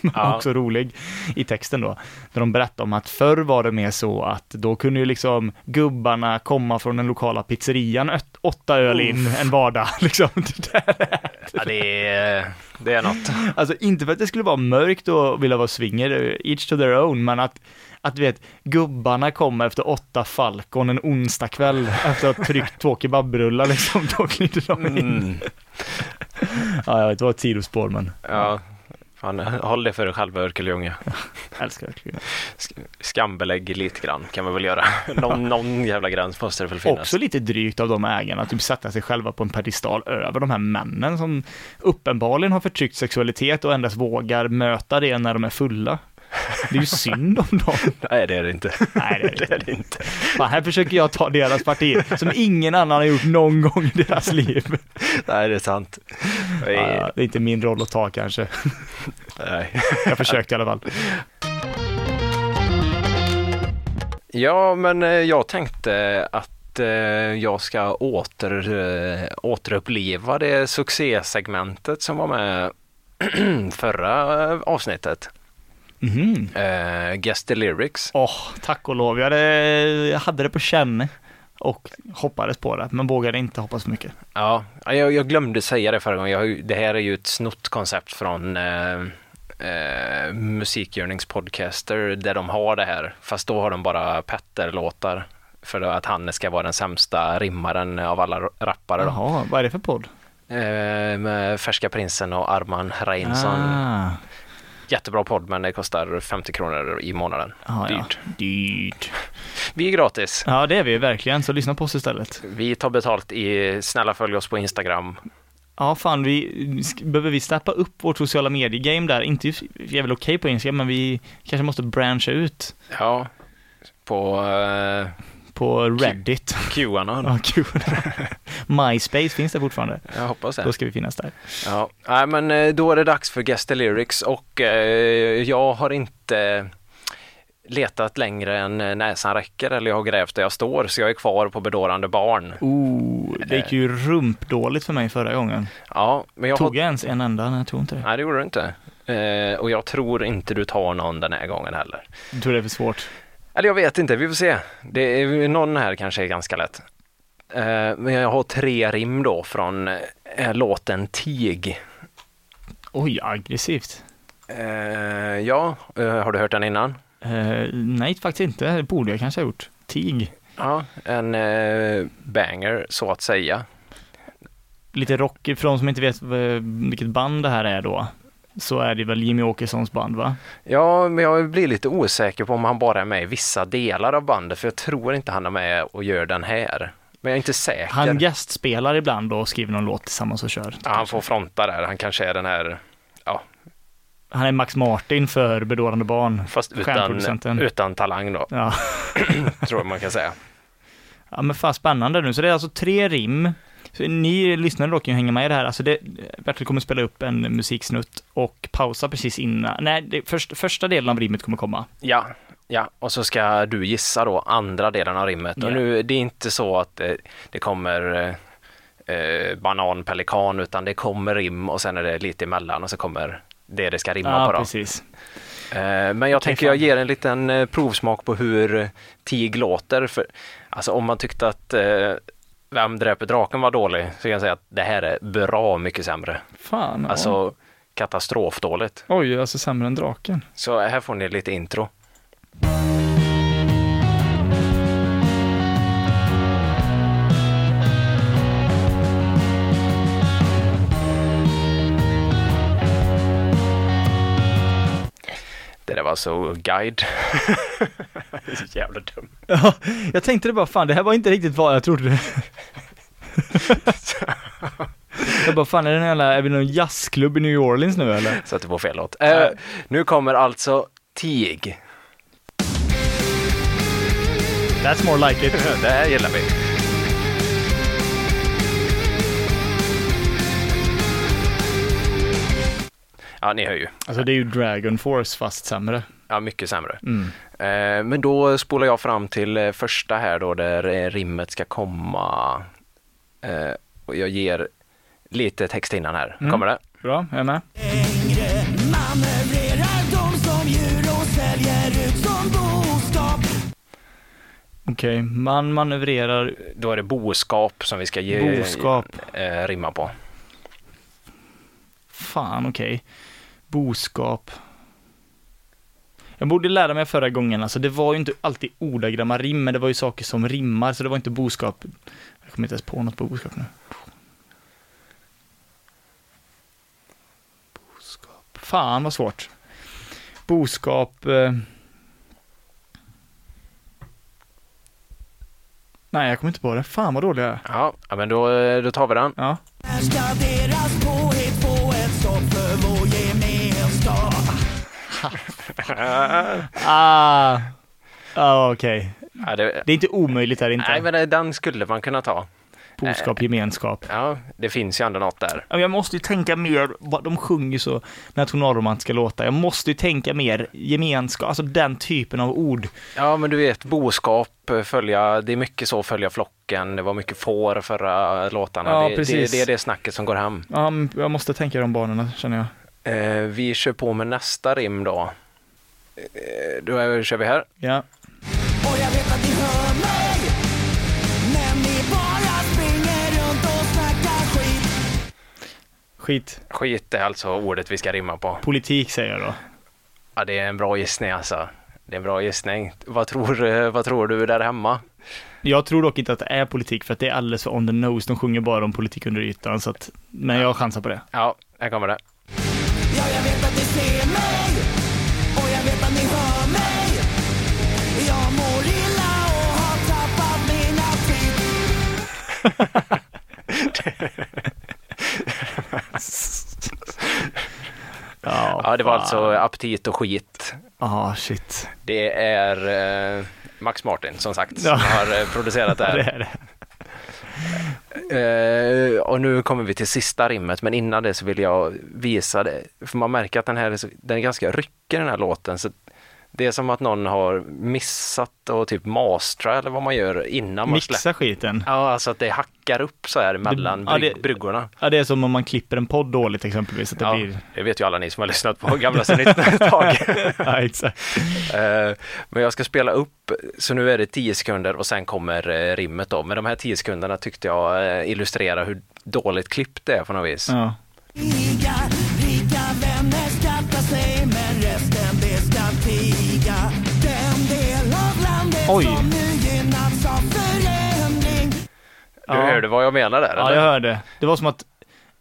C: men
B: Ja.
C: också rolig i texten då. Där de berättade om att förr var det mer så att då kunde ju liksom gubbarna komma från den lokala pizzerian öt- åtta öl in en vardag. Liksom. Det där.
B: ja det, är, det är något.
C: Alltså inte för att det skulle vara mörkt och vilja vara swinger, eh, each to their own, men att att du vet, gubbarna kommer efter åtta Falcon en onsdagkväll efter att ha tryckt två kebabrullar liksom, då glider de in.
B: Mm.
C: Ja, jag vet, det var ett sidospår men
B: Ja, fan, håll det för dig själv, Örkelljunga.
C: jag älskar verkligen.
B: Sk- Skambelägg lite grann kan man väl göra. Någon, någon jävla gräns måste det väl finnas.
C: Också lite drygt av de ägarna att typ sätta sig själva på en pedestal över de här männen som uppenbarligen har förtryckt sexualitet och endast vågar möta det när de är fulla. Det är ju synd om dem.
B: Nej, det är det inte.
C: Nej, det är det
B: Det
C: inte.
B: är det inte.
C: Fan, här försöker jag ta deras parti, som ingen annan har gjort någon gång i deras liv.
B: Nej, det är sant. Nej,
C: Ja, det är inte min roll att ta kanske.
B: Nej.
C: Jag försökte i alla fall.
B: Ja, men eh, jag tänkte att eh, jag ska åter, eh, återuppliva det succésegmentet som var med förra eh, avsnittet.
C: Mhm.
B: Eh, Guess the Lyrics.
C: Åh, tack och lov. Jag hade, jag hade det på känn och hoppades på det, men vågade inte hoppas för mycket.
B: Ja, jag, jag glömde säga det förra gången. Jag, har ju- det här är ju ett snott koncept från eh, eh, musikgörningspodcaster där de har det här. Fast då har de bara Petter-låtar för att han ska vara den sämsta rimmaren av alla rappare. Då.
C: Jaha, vad är det för podd?
B: Eh, med Färska Prinsen och Arman Reinsson.
C: Ah,
B: Jättebra podd men det kostar 50 kronor i månaden.
C: ja, ja.
B: Dyrt.
C: Dyrt.
B: Vi är gratis.
C: Ja, det är vi ju verkligen, så lyssna på oss istället.
B: Vi tar betalt i, snälla följ oss på Instagram.
C: Ja, fan, vi, sk- behöver vi steppa upp vårt sociala medier-game där? Inte, vi är väl okej på Instagram, men vi kanske måste branscha ut
B: Ja, på eh,
C: på Reddit.
B: Qanon.
C: Ja, kul. MySpace finns det fortfarande.
B: Jag hoppas det.
C: Då ska vi finnas där.
B: Ja, nej men eh, då är det dags för Guess the Lyrics och eh, jag har inte letat längre än eh, näsan räcker eller jag har grävt där jag står så jag är kvar på bedårande barn.
C: Oh, det gick ju rumpdåligt för mig förra gången.
B: Ja, men jag har...
C: Tog jag ens en enda? Nej, jag tror inte det.
B: Nej, det gjorde du inte. Eh, och jag tror inte du tar någon den här gången heller.
C: Jag tror det är för svårt.
B: Eller jag vet inte, vi får se. Det är, någon här kanske är ganska lätt. Eh, men jag har tre rim då från eh, låten Tig.
C: Oj, aggressivt.
B: Eh, ja, eh, har du hört den innan?
C: Eh, nej, faktiskt inte. Det borde jag kanske ha gjort. Tig.
B: Ja, en eh, banger så att säga.
C: lite rock, för de som inte vet eh, vilket band det här är då, så är det väl Jimmy Åkessons band va?
B: Ja, men jag blir lite osäker på om han bara är med i vissa delar av bandet, för jag tror inte han är med och gör den här. Men jag är inte säker.
C: Han
B: Han,
C: gästspelar ibland då och skriver någon låt tillsammans och kör.
B: ja, han får fronta där, han kanske är den här, ja,
C: Han är Max Martin för bedårande barn.
B: Fast utan,
C: Stjärnproducenten.
B: utan talang då,
C: Ja.
B: tror jag man kan säga.
C: ja, men fan spännande nu. Så det är alltså tre rim. Så ni lyssnare då kan ju hänga med i det här. Alltså det, Bertil kommer spela upp en musiksnutt och pausa precis innan. Nej, det, först, första delen av rimmet kommer komma.
B: Ja, ja, och så ska du gissa då andra delen av rimmet. Och
C: Ja.
B: nu, det är inte så att eh, det kommer eh, eh, bananpelikan, utan det kommer rim och sen är det lite emellan och så kommer det det ska rimma på. Då.
C: precis.
B: Eh, Men jag tänker jag ger en liten eh, provsmak på hur eh, TIG låter. För, alltså om man tyckte att eh, Vem dräper draken var dålig så kan jag säga att det här är bra mycket sämre.
C: Fan. ja.
B: Alltså katastrofdåligt.
C: Oj, alltså sämre än draken.
B: Så här får ni lite intro. Det där var så guide. så jävla dum.
C: Ja, jag tänkte det bara, fan det här var inte riktigt vad jag trodde. jag bara, fan är det någon jävla, är vi någon jazzklubb i New Orleans nu eller?
B: Satte på fel låt. Eh, nu kommer alltså TIG.
C: That's more like it.
B: Det här gillar vi. Ja, ni hör ju.
C: Alltså det är ju Dragon Force fast sämre.
B: Ja, mycket sämre.
C: Mm.
B: Eh, Men då spolar jag fram till eh, första här då där eh, rimmet ska komma. Eh, Och jag ger lite text innan här.
C: Mm.
B: Kommer det?
C: Bra, är jag med?
D: längre Manövrerar de som djur och sväljer ut som boskap
C: Okej, man manövrerar
B: Då är det boskap som vi ska ge
C: boskap.
B: eh, rimma på.
C: Fan, okej. Boskap. Jag borde lära mig förra gången, alltså det var ju inte alltid ordagramma rim, men det var ju saker som rimmar, så det var inte boskap. Jag kommer inte ens på något på boskap nu. Boskap. Fan vad svårt. Boskap. Eh... Nej, jag kommer inte på det. Fan vad dålig jag är.
B: Ja, ja, men då, eh, då tar vi den.
C: Ja.
D: När ska deras påhitt få ett stopp för vår gemenskap?
C: Ah, ah okej.
B: Ja, det,
C: Det är inte omöjligt är det inte.
B: nej, men eh, den skulle man kunna ta.
C: Boskap, gemenskap.
B: Ja, det finns ju ändå något där.
C: Ja, men Jag måste ju tänka mer, vad de sjunger så nationalromantiska låtar. Jag måste ju tänka mer gemenskap, alltså den typen av ord.
B: Ja, men du vet, boskap, eh, följa, det är mycket så, följa flocken, det var mycket får förra låtarna.
C: Ja,
B: det,
C: precis.
B: Det, det är det snacket som går hem.
C: Ja, men jag måste tänka de banorna känner jag.
B: Eh, vi kör på med nästa rim då. Eh, då är- kör vi här.
C: Ja.
D: Och jag vet att ni hör mig Men ni bara springer runt och snackar skit
C: Skit.
B: Skit är alltså ordet vi ska rimma på.
C: Politik säger jag då.
B: Ja, det är en bra gissning alltså. Det är en bra gissning. Vad tror, eh, vad tror du där hemma?
C: Jag tror dock inte att det är politik för att det är alldeles för on the nose. De sjunger bara om politik under ytan så att, men jag chansar på det.
B: Ja, här kommer det.
D: Ja, jag vet att ni ser mig Och jag vet att ni hör mig Jag mår illa och har tappat min aptit
C: Ja,
B: Ja, det var
C: fan.
B: alltså aptit och skit.
C: Ah, shit.
B: Det är eh, Max Martin, som sagt,
C: Ja.
B: som har eh, producerat det
C: Ja,
B: här.
C: det är det.
B: Eh, och nu kommer vi till sista rimmet, men innan det så vill jag visa det. För man märker att den här är, så, den är ganska ryckig den här låten. Så det är som att någon har missat och typ mastra eller vad man gör innan man släpper.
C: Mixa skiten.
B: Ja, alltså att det hackar upp så här mellan
C: ja,
B: brygg,
C: det-
B: bryggorna.
C: Ja, det är som om man klipper en podd dåligt exempelvis. Att det
B: Ja,
C: blir...
B: det vet ju alla ni som har lyssnat på gamla sen 1900-talet.
C: ja, exakt.
B: Eh, Men jag ska spela upp, så nu är det 10 sekunder och sen kommer eh, rimmet då. Men de här 10 sekunderna tyckte jag eh, illustrerar hur dåligt klippt det är på något vis.
C: Ja.
D: Rika, rika vänner skattar sig men resten det ska tiga Den del av landet
C: Oj.
D: som nu gynnats av förändring
B: Du
C: Ja.
B: hörde vad jag menar där?
C: Ja,
B: eller?
C: jag hörde. Det var som att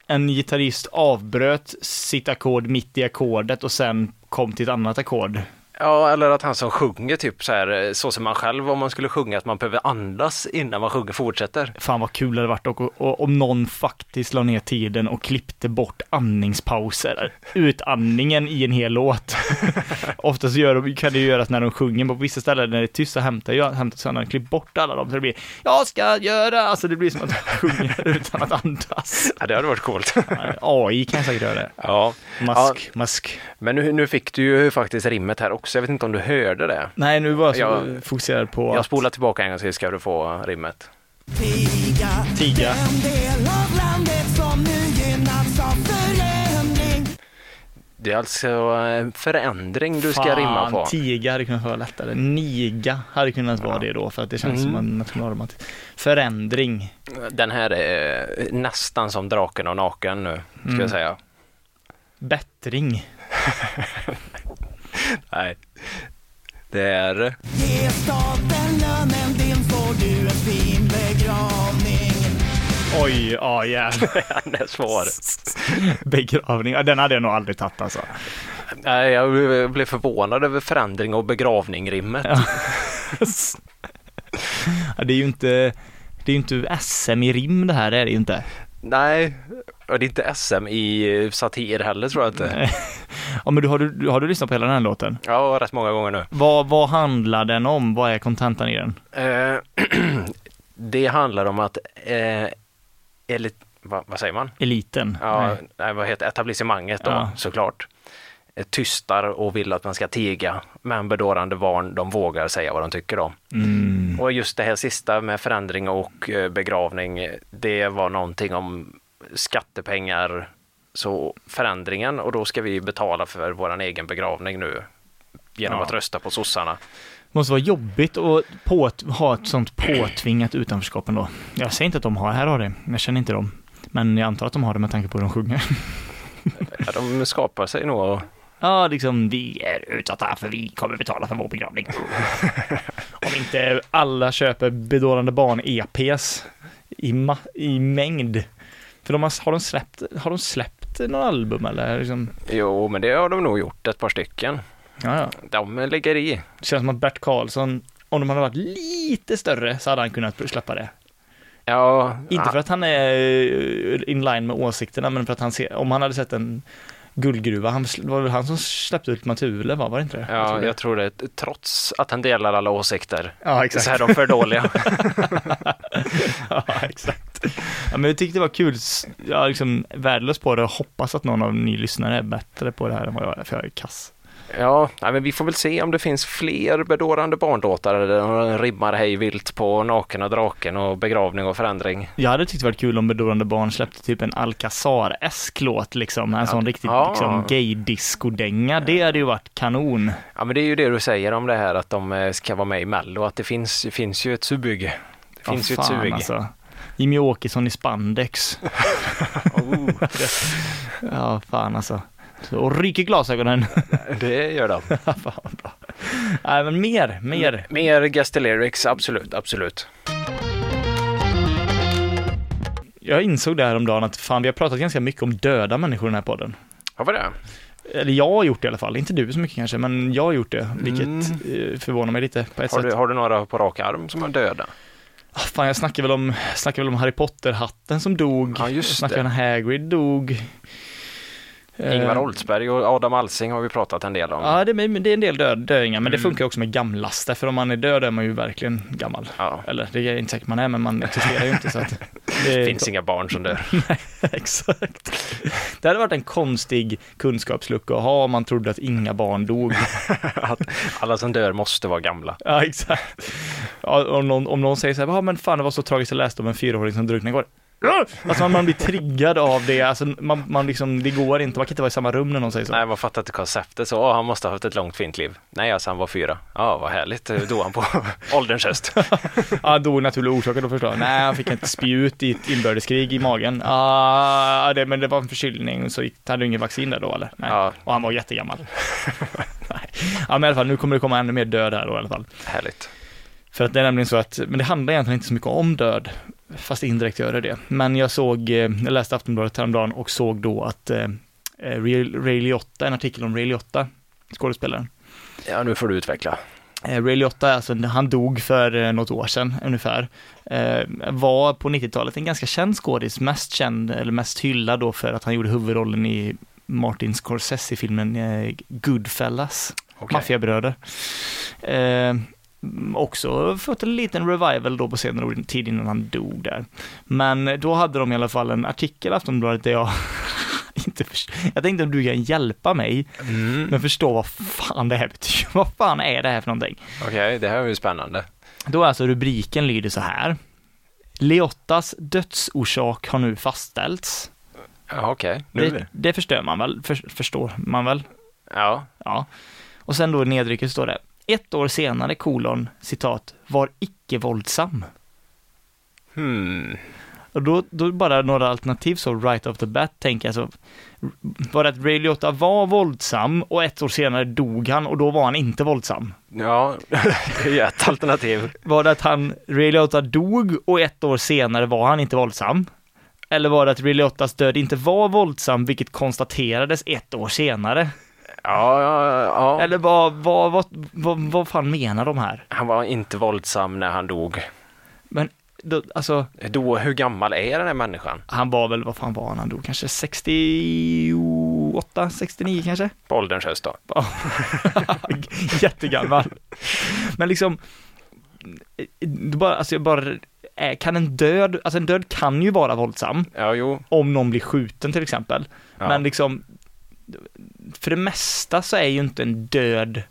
C: en gitarrist avbröt sitt ackord mitt i ackordet och sen kom till ett annat ackord.
B: Ja, eller att han som sjunger typ så här, så som man själv om man skulle sjunga, att man behöver andas innan man sjunger fortsätter.
C: Fan vad kul det hade varit och, och, om någon faktiskt la ner tiden och klippte bort andningspauser. Utandningen i en hel låt. Oftast gör, de- kan det ju göras när de sjunger, men på vissa ställen när det är tyst så hämtar jag hämtar Sanna klipp bort alla dem så det blir Jag ska göra, alltså det blir som att de sjunger utan att andas.
B: Ja, det hade varit coolt.
C: AI kan säkert göra det.
B: Ja,
C: Mask, mask.
B: men nu, nu fick du ju faktiskt rimmet här också. Jag vet inte om du hörde det.
C: Nej, nu var jag så
B: Jag-
C: fokuserad på
B: Jag
C: att-
B: spolar tillbaka en gång till ska du få rimmet.
D: Tiga,
C: Tiga.
D: den del av landet som nu gynnats av förändring
B: Det är alltså en förändring du ska
C: Fan,
B: rimma på.
C: Tiga hade kunnat vara lättare. Niga hade kunnat vara det då för att det känns
B: Mm.
C: som en nationalromantik. Förändring.
B: Den här är eh, nästan som draken och naken nu, ska
C: Mm.
B: jag säga.
C: Bättring.
B: Nej. Det är...
D: Ge staten lönen din får du en fin begravning
C: Oj, ja jävlar.
B: Den är svår.
C: Begravning. Ja, den hade jag nog aldrig tagit alltså.
B: Nej, jag blev- blev förvånad över förändring och begravning-rimmet.
C: Ja, det är ju inte, det är ju inte SM i rim det här, det är det ju inte.
B: Nej, och det är inte SM i satir heller tror jag inte.
C: Ja, men du, har, du, har du lyssnat på hela den här låten?
B: Ja, rätt många gånger nu.
C: Vad, vad handlar den om? Vad är kontentan i den?
B: Eh, det handlar om att, eh, elit, va, vad säger man?
C: Eliten?
B: Ja,
C: Nej.
B: nej. vad heter etablissemanget då,
C: Ja.
B: såklart. Eh, Tystar och vill att man ska tiga, men bedårande barn, de vågar säga vad de tycker om.
C: Mm.
B: Och just det här sista med förändring och eh, begravning, det var någonting om skattepengar, så förändringen och då ska vi betala för våran egen begravning nu genom
C: Ja.
B: att rösta på sossarna.
C: måste vara jobbigt att på, ha ett sånt påtvingat utanförskap ändå. Jag säger inte att de har, här har det. Jag känner inte dem. Men jag antar att de har det med tanke på hur de sjunger.
B: Ja, de skapar sig nog.
C: Ja, liksom vi är utsatta för vi kommer betala för vår begravning. Om inte alla köper bedårande barn-EPs i, ma- i mängd. För de har, har, de släppt, har de släppt några album eller? Liksom?
B: Jo, men det har de nog gjort ett par stycken.
C: Ja, ja.
B: De ligger i.
C: Det känns som att Bert Karlsson, om de hade varit lite större så hade han kunnat släppa det.
B: Ja,
C: Inte för att han är eh, in line med åsikterna, men för att han ser, om han hade sett en guldgruva, han, sl- var det han som släppte ut Matule, va? var det inte det?
B: ja,
C: Jag tror det.
B: jag tror det. Trots att han delar alla åsikter
C: ja exakt.
B: så är de för dåliga.
C: ja, exakt. Ja, men jag tyckte det var kul, S- jag är liksom värdelös på det och hoppas att någon av ni lyssnare är bättre på det här än vad jag är, för jag är kass.
B: ja, nej, men vi får väl se om det finns fler bedårande barndåtar där de rimmar hej vilt på naken och draken och begravning och förändring.
C: Jag hade tyckt det varit kul om Bedårande Barn släppte typ en Alcazar-esk låt liksom, en sån riktigt
B: ja.
C: liksom gay-disco-dänga, det hade ju varit kanon.
B: Ja, men det är ju det du säger om det här att de eh, ska vara med i Mello, att det finns, det finns ju ett sug. Det
C: Ja,
B: finns ju ett
C: fan,
B: sug.
C: Alltså. Jimmy Åkesson i spandex.
B: Oh,
C: ja, fan alltså. Så, och ryker glasögonen.
B: Det gör de.
C: fan vad bra. Nej, men mer, mer.
B: Mer guest lyrics, absolut, absolut.
C: Jag insåg det här om dagen att fan, vi har pratat ganska mycket om döda människor i den här podden.
B: Ja, vad det?
C: Eller jag har gjort det i alla fall, inte du så mycket kanske, men jag har gjort det, vilket eh, förvånar mig lite på
B: Mm.
C: ett
B: Har
C: sätt.
B: du, har du några på rak arm som är döda?
C: Ah, Fan, jag snackar väl om, snackar väl om Harry Potter-hatten som dog.
B: Ja, just
C: jag snackar
B: det.
C: om Hagrid dog.
B: Ingvar
C: Eh,
B: Oldsberg och Adam Alsing har vi pratat en del om.
C: Ja, det, men det är en del dö- döingar,
B: Mm.
C: men det funkar också med gamlaste, för om man är död är man ju verkligen gammal.
B: Ja.
C: Eller det är inte säkert man är, men man existerar ju inte så att...
B: Det
C: Det
B: finns inga barn som dör.
C: Exakt. Det hade varit en konstig kunskapslucka att ha om man trodde att inga barn dog.
B: Att alla som dör måste vara gamla.
C: Ja, exakt. Ja, om, någon, om någon säger så här, ja men fan det var så tragiskt jag läste om en fyraåring som drunknade igår. Alltså man, man blir triggad av det, alltså man, man liksom, det går inte, man kan inte vara i samma rum när någon säger så.
B: Nej, man fattar inte konceptet. Så, åh, han måste ha haft ett långt fint liv. Nej, alltså han var fyra. Ja, vad härligt. Då dog han på ålderns höst.
C: Ja, då är Ah, naturliga orsaker då förstår jag. Nej, han fick ett spjut i ett inbördeskrig i magen. Ah, det, men det var en förkylning, så gick, hade du inget vaccin där då eller? Nej.
B: Ja.
C: Och han var jättegammal. Nej. Ja, men i alla fall, nu kommer det komma ännu mer död här då i alla fall.
B: Härligt.
C: För att det är nämligen så att, men det handlar egentligen inte så mycket om död, fast indirekt gör det det. Men jag såg, eh, jag läste Aftonbladet häromdagen och såg då att eh, eh, Ray Ray Liotta, en artikel om Ray Liotta, skådespelaren,
B: Ja, nu får du utveckla.
C: Eh, Ray Liotta, alltså, han dog för eh, något år sedan ungefär, eh, var på 90-talet en ganska känd skådis, mest känd, eller mest hyllad då för att han gjorde huvudrollen i Martin Scorsese-filmen eh, Goodfellas,
B: Okej.
C: Maffiabröder. Eh, också fått en liten revival då på senare år, tid innan han dog där. Men då hade de i alla fall en artikel i Aftonbladet där jag inte först- jag tänkte om du kan hjälpa mig,
B: Mm.
C: men förstå vad fan det här betyder. Vad fan är det här för någonting?
B: Okej, det här är ju spännande.
C: Då är alltså rubriken lyder så här. Leottas dödsorsak har nu fastställts.
B: Ja, Okej, nu.
C: Det, det förstör man väl, för, förstår man väl?
B: Ja,
C: Ja. Och sen då nedrycket står det. Ett år senare, kolon, citat, var icke-våldsam.
B: hmm.
C: Och då, då bara några alternativ så right off the bat tänker jag så. Var det att Ray Liotta var våldsam och ett år senare dog han och då var han inte våldsam?
B: Ja, det är ett alternativ.
C: Var det att han, Ray Liotta dog och ett år senare var han inte våldsam? Eller var det att Ray Liottas död inte var våldsam, vilket konstaterades ett år senare?
B: Ja, ja, ja.
C: Eller vad, vad, vad, vad, vad fan menar de här?
B: Han var inte våldsam när han dog.
C: Men, då, alltså,
B: Då, hur gammal är den här människan?
C: han var väl, vad fan var han när han dog? Kanske 68, 69 kanske?
B: På ålderns höst då?
C: Ja. Jättegammal. Men liksom, det bara, alltså jag bara, eh, kan en död, alltså en död kan ju vara våldsam.
B: Ja, jo.
C: om någon blir skjuten till exempel.
B: Ja.
C: Men liksom, för det mesta så är ju inte en död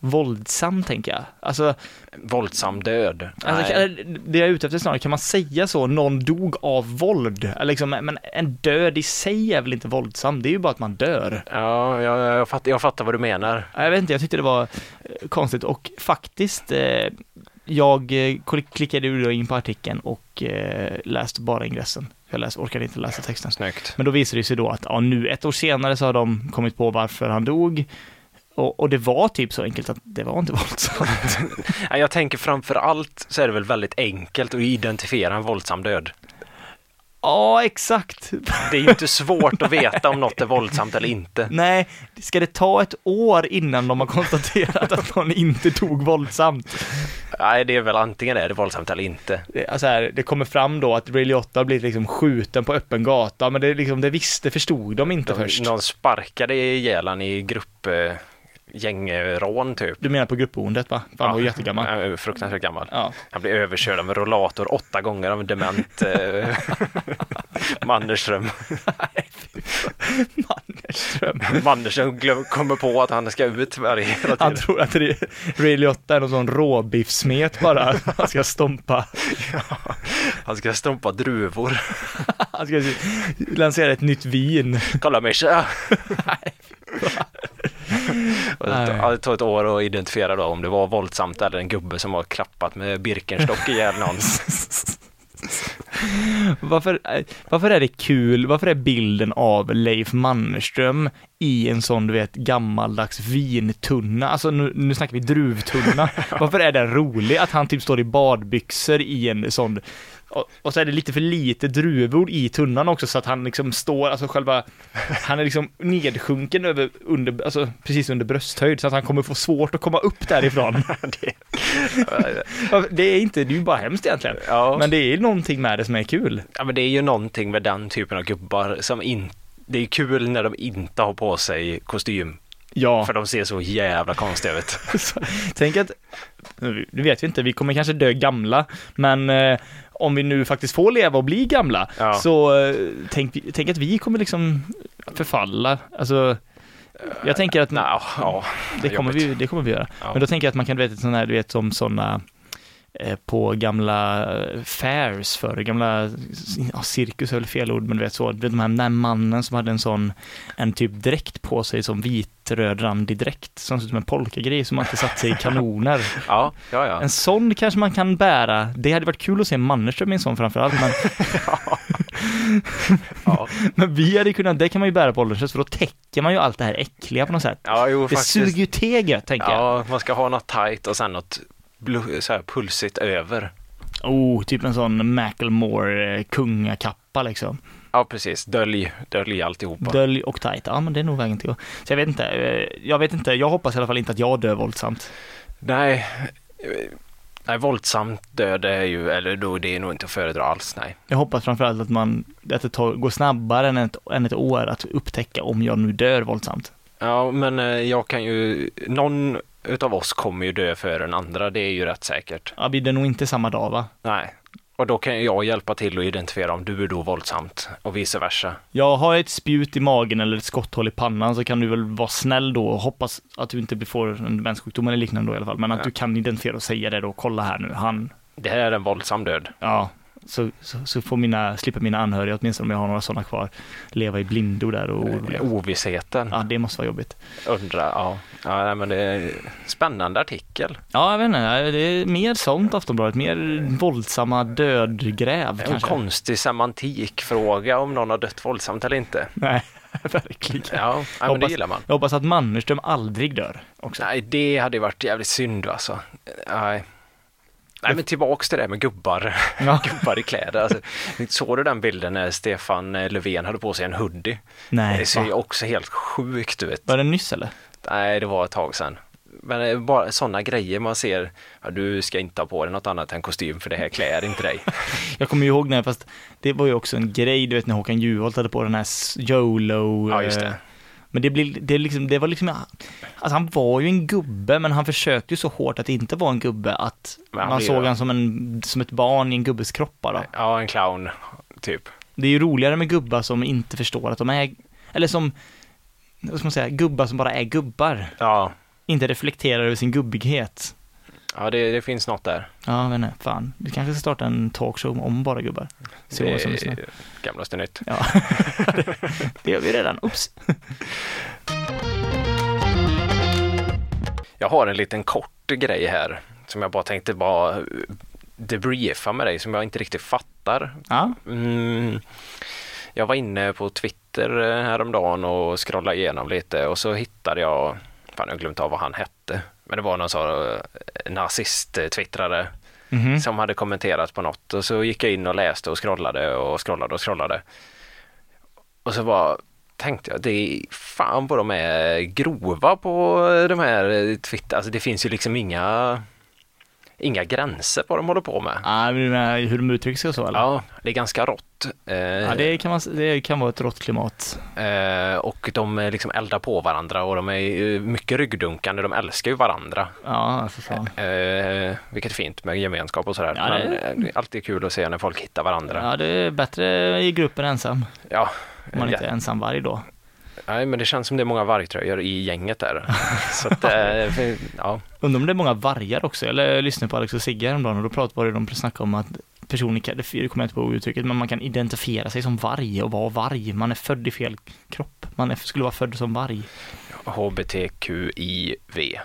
C: våldsam, tänker jag. Alltså,
B: Våldsam död.
C: alltså
B: Nej.
C: kan- det jag är ute efter snarare, kan man säga så, någon dog av våld? Eller Liksom, men en död i sig är väl inte våldsam, det är ju bara att man dör.
B: Ja, jag, jag, fattar, jag fattar vad du menar.
C: Ja, Jag vet inte, jag tyckte det var eh, konstigt och faktiskt, eh, jag eh, klick- klickade ju då in på artikeln och eh, läste bara ingressen. Jag läste, orkade inte läsa texten.
B: Snyggt.
C: Men då visar det sig då att ja, nu ett år senare så har de kommit på varför han dog. Och, och det var typ så enkelt att det var inte våldsamt.
B: Ja, Jag tänker framför allt så är det väl väldigt enkelt att identifiera en våldsam död.
C: ja, exakt.
B: Det är ju inte svårt att veta om något är våldsamt eller inte.
C: Nej, ska det ta ett år innan de har konstaterat att någon inte tog våldsamt?
B: Nej, det är väl antingen är det våldsamt eller inte.
C: Det, alltså här, det kommer fram då att Ray Liotta har blivit liksom skjuten på öppen gata, men det, är liksom, det visste, förstod de inte först.
B: Någon sparkade ihjäl han i grupp eh, gängrån typ.
C: Du menar på gruppboendet va? Fan, han var ju jättegammal.
B: Ja, Fruktansvärt gammal.
C: Ja.
B: Han blev överkörd av en rollator åtta gånger av en dement eh, Mannerström.
C: Mannerström.
B: Mannerström glöm- kommer på att han ska ut varje hela
C: Han
B: tiden.
C: tror att det- Ray Liotta är någon sån råbiffsmet bara, som han ska stompa.
B: Han ska stompa druvor.
C: Han ska lansera ett nytt vin.
B: Kolla Mischa! Och
C: Nej.
B: Det det tog ett år att identifiera då om det var våldsamt eller en gubbe som har klappat med Birkenstock ihjäl någon.
C: Varför, eh, varför är det kul, varför är bilden av Leif Mannerström i en sån, du vet, gammaldags vintunna, alltså nu, nu snackar vi druvtunna, varför är den rolig? Att han typ står i badbyxor i en sån, och, och så är det lite för lite druvor i tunnan också så att han liksom står, alltså själva, han är liksom nedsjunken över, under, alltså precis under brösthöjd så att han kommer få svårt att komma upp därifrån.
B: Det-
C: Det är inte, det är ju bara hemskt egentligen.
B: Ja.
C: Men det är någonting med det som är kul.
B: ja, men det är ju någonting med den typen av gubbar som inte det är kul när de inte har på sig kostym,
C: Ja.
B: för de ser så jävla konstiga ut.
C: Så, tänk att, nu vet vi inte, vi kommer kanske dö gamla, men eh, om vi nu faktiskt får leva och bli gamla,
B: Ja.
C: så eh, tänk, tänk att vi kommer liksom förfalla. Alltså, jag tänker att
B: Ja, ja,
C: det, kommer
B: jobbigt.
C: vi, det kommer vi göra.
B: Ja.
C: Men då tänker jag att man kan, du vet, sån här, du vet som sådana på gamla eh, fairs för gamla, ja, cirkus är väl fel ord, men du vet så, Du vet, de här, den här mannen som hade en sån, en typ dräkt på sig som vitröd randig dräkt, som ser ut som en polkagrej som alltid satt sig i kanoner.
B: Ja, ja, ja.
C: En sån kanske man kan bära, det hade varit kul att se Mannerström i en sån framförallt, men,
B: ja.
C: men vi hade kunnat, det kan man ju bära på ålderns höst, för då täcker man ju allt det här äckliga på något sätt.
B: ja jo,
C: Det
B: faktiskt.
C: suger ju teget, tänker jag.
B: Ja, man ska ha något tight och sen något blu- så här pulsigt över.
C: Oh, typ en sån Macklemore eh, kungakappa liksom.
B: Ja, precis. Dölj, dölj alltihopa.
C: Dölj och tajt. Ja, men det är nog vägen till. Så jag vet inte. eh, Jag vet inte. Jag hoppas i alla fall inte att jag dör våldsamt.
B: Nej, eh, nej, våldsamt död är ju, eller då det är nog inte att föredra alls, nej.
C: Jag hoppas framförallt att man, att det tar, går snabbare än ett, än ett år att upptäcka om jag nu dör våldsamt.
B: Ja, men eh, jag kan ju, någon utav oss kommer ju dö före den andra, det är ju rätt säkert.
C: Ja, blir det nog inte samma dag va?
B: Nej, och då kan ju jag hjälpa till att identifiera om du är då våldsamt och vice versa.
C: Jag har ett spjut i magen eller ett skotthål i pannan så kan du väl vara snäll då och hoppas att du inte får en demenssjukdom eller liknande då i alla fall. Men att
B: Ja.
C: du kan identifiera och säga det då, kolla här nu, han,
B: Det här är en våldsam död.
C: ja. Så, så, så får mina, slipper mina anhöriga, åtminstone om jag har några sådana kvar, leva i blindo där
B: Eh,
C: och oroliga.
B: Ovissheten.
C: Ja, det måste vara jobbigt.
B: Undra, ja. ja nej, men det är spännande artikel.
C: Ja, jag vet inte. Det är mer sånt Aftonbladet. Mer våldsamma dödgräv
B: En
C: kanske.
B: konstig semantikfråga om någon har dött våldsamt eller inte.
C: Nej, verkligen.
B: Ja, ja men det gillar man.
C: Jag hoppas att Mannerström aldrig dör också.
B: Nej, det hade ju varit jävligt synd alltså. Nej. Nej, men tillbaks till det här med gubbar,
C: Ja.
B: gubbar i kläder. Alltså, såg du den bilden när Stefan eh, Löfven hade på sig en hoodie?
C: Nej,
B: det ser ju
C: va?
B: också helt sjukt ut.
C: Var det nyss eller?
B: Nej, det var ett tag sedan. Men det är bara sådana grejer man ser, ja, du ska inte ha på dig något annat än kostym för det här klär inte dig.
C: Jag kommer ju ihåg när, fast det var ju också en grej, du vet när Håkan Juholt hade på den här s- YOLO.
B: Ja, just det.
C: eh, Men det, blir, det, är liksom, det var liksom, alltså han var ju en gubbe, men han försökte ju så hårt att inte vara en gubbe att
B: Men han
C: man
B: blir
C: såg
B: det.
C: han som, en, som ett barn i en gubbes kropp bara.
B: Ja, en clown, typ.
C: Det är ju roligare med gubbar som inte förstår att de är, eller som, vad ska man säga, gubbar som bara är gubbar.
B: Ja,
C: Inte reflekterar över sin gubbighet.
B: ja det, det finns något där.
C: Ja, jag vet inte, fan. Du kanske ska starta en talkshow om bara gubbar. Så
B: Det
C: det... som lyssnar.
B: är Gamlaste nytt.
C: Ja, det gör vi redan. Oops.
B: Jag har en liten kort grej här som jag bara tänkte bara eh, debriefa med dig som jag inte riktigt fattar.
C: Ja,
B: Mm, jag var inne på Twitter eh, häromdagen och scrollade igenom lite och så hittade jag, fan jag har glömt av vad han hette, men det var någon sån eh, nazist-twittrare
C: Mhm.
B: som hade kommenterat på något och så gick jag in och läste och scrollade och scrollade och scrollade. Och så bara tänkte jag, det är fan vad de är grova på de här eh, Twitter, alltså det finns ju liksom inga, inga gränser på vad de håller på med.
C: ah, men du menar hur de uttrycker sig och så eller?
B: Ja, det är ganska rått. Eh,
C: Ja, det kan, man, det kan vara ett rått klimat.
B: Eh, och de eh, liksom eldar på varandra och de är ju mycket ryggdunkande, de älskar ju varandra.
C: Ja, alltså fan.
B: Eh, vilket är fint med gemenskap och sådär.
C: Ja, det-
B: Men eh, det är alltid kul att se när folk hittar varandra.
C: Ja, det är bättre i gruppen ensam.
B: Ja,
C: Om man
B: ja.
C: inte är ensam varje dag.
B: Nej, men det känns som det är många vargtröjor i gänget där. Så att, eh, för- ja.
C: Undrar om det är många vargar också, eller jag lyssnade på Alex och Sigge häromdagen och då pratade de snackade om att personer kan, det kommer jag inte på uttrycket, men man kan identifiera sig som varg och vara varg. Man är född i fel kropp. Man är, skulle vara född som varg.
B: HBTQIV.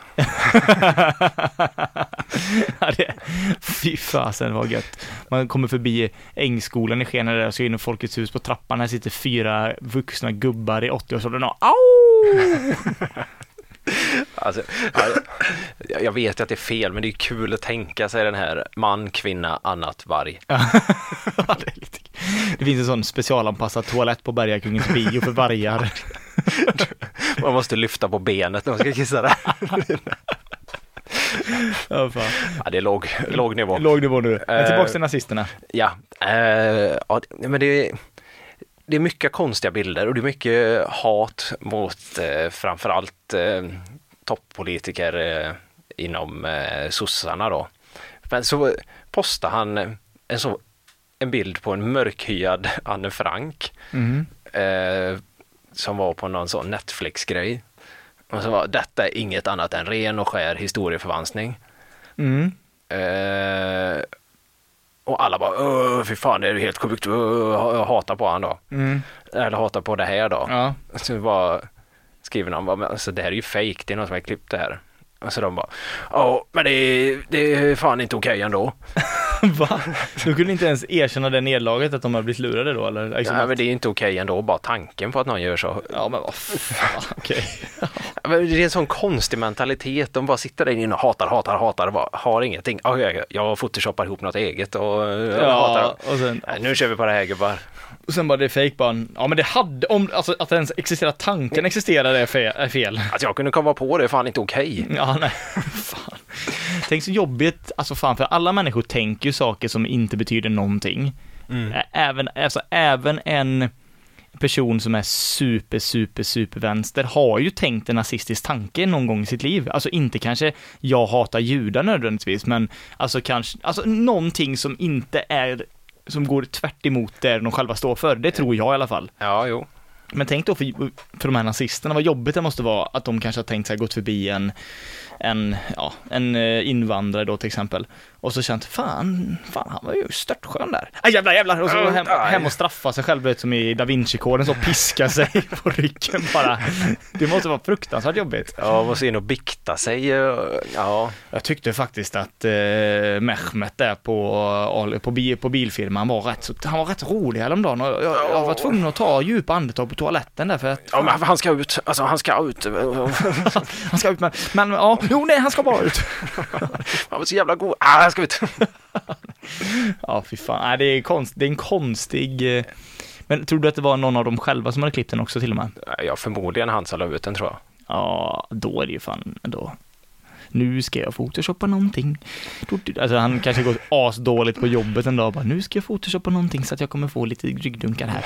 C: Ja, det, fy fasen vad gött. Man kommer förbi Ängskolan i Skene där och så in i Folkets hus på trappan. Här sitter fyra vuxna gubbar i 80-årsåldern och au!
B: Alltså, ja, jag- jag vet ju att det är fel, men det är ju kul att tänka sig den här man, kvinna, annat, varg.
C: Ja, det, är lite, det finns en sån specialanpassad toalett på Bergakungens bio för vargar.
B: Man måste lyfta på benet när man ska kissa där.
C: Ja, fan.
B: Ja, det är låg, låg nivå.
C: Låg nivå nu. Men tillbaka
B: Eh.
C: till nazisterna.
B: Ja, eh, ja det- men det, det är mycket konstiga bilder och det är mycket hat mot eh, framförallt eh, toppolitiker eh, inom eh, sossarna då. Men så postar han en, så, en bild på en mörkhyad Anne Frank eh, som var på någon sån Netflix-grej. Och så var detta är inget annat än ren och skär historieförvanskning.
C: Mm.
B: Eh, och alla bara, "Åh, fy fan det är helt sjukt, Öh, hatar på han då.
C: Mm.
B: Eller hatar på det här då.
C: Ja.
B: Så bara skriver någon, bara, "Men alltså, det här är ju fejk, det är någon som har klippt det här. Och så de bara, ja men det är, det är fan inte okej ändå.
C: Va? Du kunde inte ens erkänna det nederlaget att de hade blivit lurade då eller? Liksom
B: Nej,
C: att-
B: men det är ju inte okej ändå, bara tanken på att någon gör så.
C: Ja men vad fan, okej.
B: Ja, men Det är en sån konstig mentalitet. De bara sitter där inne och hatar, hatar, hatar och bara har ingenting. Ja, jag, jag photoshoppar ihop något eget och jag hatar.
C: Ja, och sen,
B: Nej, nu kör vi på det här gubbar.
C: och sen bara det är fake bara, ja men det hade, om, alltså att ens existera tanken existerade är fe- är fel.
B: Att jag kunde komma på det är fan inte okej.
C: Ja, nej. Fan. Tänk så jobbigt, alltså fan, för alla människor tänker ju saker som inte betyder någonting. Ä- Även, alltså, även en person som är super, super, super vänster har ju tänkt en nazistisk tanke någon gång i sitt liv. Alltså inte kanske, jag hatar judar nödvändigtvis, men alltså kanske, alltså någonting som inte är, som går tvärt emot det de själva står för. Det tror jag i alla fall.
B: Ja, jo.
C: Men tänk då för, för de här nazisterna, vad jobbigt det måste vara att de kanske har tänkt sig gått förbi en, en, ja, en eh, invandrare då till exempel. Och så känt, fan, fan han var ju störtskön där. Aj, jävlar, jävlar! Och så hem, hem och straffa sig själv, du vet, som i Da Vinci-koden, så piska sig på ryggen bara. Det måste vara fruktansvärt jobbigt.
B: Ja, måste in och bikta sig. eh, Ja,
C: Jag tyckte faktiskt att eh, Mehmet där på, eh, på, bi- på bilfirman var rätt så, han var rätt rolig häromdagen och jag, jag var tvungen att ta djupa andetag på toaletten där för att
B: ja men han ska ut. Alltså han ska ut.
C: Han ska ut men, men ja, jo nej han ska bara ut.
B: Han var så jävla god. Ah, han ska ut.
C: Ja fy fan, nej, det, är konst, det är en konstig... eh, Men tror du att det var någon av dem själva som hade klippt den också till och med?
B: Ja, förmodligen han som la ut den tror jag.
C: Ja, då är det ju fan då. Nu ska jag photoshoppa någonting. Alltså han kanske går asdåligt på jobbet en dag och bara, nu ska jag photoshoppa någonting så att jag kommer få lite ryggdunkar här.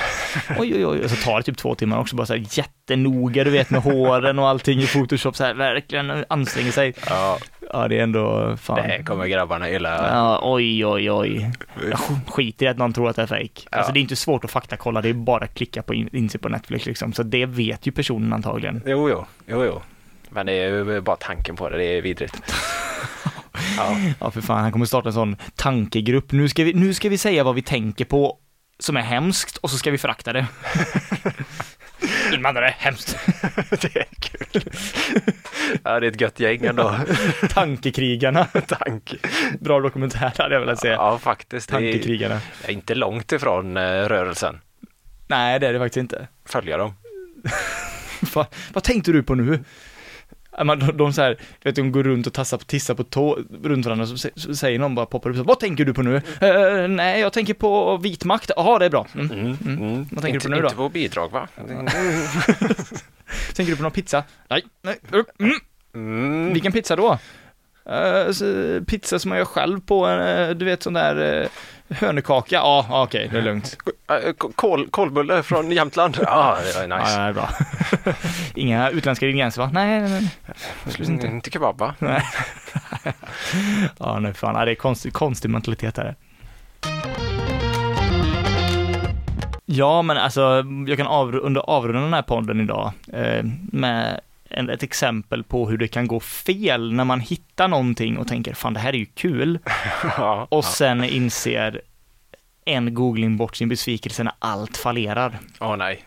C: Oj, oj, oj. Och så tar det typ två timmar också, bara så här jättenoga, du vet med håren och allting i photoshop, så här verkligen eh, anstränger sig.
B: Ja,
C: Ja, det är ändå fan.
B: det här kommer grabbarna gilla.
C: Ja, oj, oj, oj. Jag sk- skiter i att någon tror att det är fejk. Alltså
B: Eh. Ja.
C: det är inte svårt att faktakolla, det är bara att klicka på in, in sig på Netflix liksom. Så det vet ju personen antagligen.
B: Jo, jo, jo, jo. Men det är ju bara tanken på det, det är vidrigt. Ja.
C: Ja, för fan, han kommer starta en sån tankegrupp. Nu ska vi, nu ska vi säga vad vi tänker på som är hemskt och så ska vi förakta det. Invandrare, hemskt.
B: Det är kul. Ja, det är ett gött gäng ändå.
C: Tankekrigarna.
B: Tank.
C: Bra dokumentär hade jag velat säga.
B: Ja, faktiskt. Det är
C: Tankekrigarna.
B: jag är inte långt ifrån eh, rörelsen.
C: Nej, det är det faktiskt inte.
B: Följa dem.
C: Fan, vad tänkte du på nu? Ja, men De, de, så här, du vet, de går runt och tassar på, tissar på tå runt varandra, så, sä- så säger någon bara, poppar upp så, här, vad tänker du på nu? "Eh, nej, jag tänker på vit makt, jaha det är bra. Mm. Vad tänker
B: inte,
C: du på nu då?
B: Inte på bidrag, va?
C: Tänker du på någon pizza? Nej, nej. Mm.
B: Mm.
C: Vilken pizza då? "Eh, så- pizza som man gör själv på, eh, du vet sån där eh, hönekaka, ja ja, okej, det är lugnt.
B: Äh, k- Kol, kolbulle från Jämtland. Ja, det var
C: Ja,
B: nice. Mm.
C: det är bra. Inga utländska ingredienser va? Nej, nej, nej. absolut inte.
B: Mm, inte kebab, va?
C: Ja, nej fan, ja, det är konstig, konstig mentalitet här. Ja, men alltså, jag kan avru- under avrunda den här podden idag eh, med en, ett exempel på hur det kan gå fel när man hittar någonting och tänker fan det här är ju kul
B: Ja.
C: och sen inser en googling bort sin besvikelse när allt fallerar.
B: Åh nej.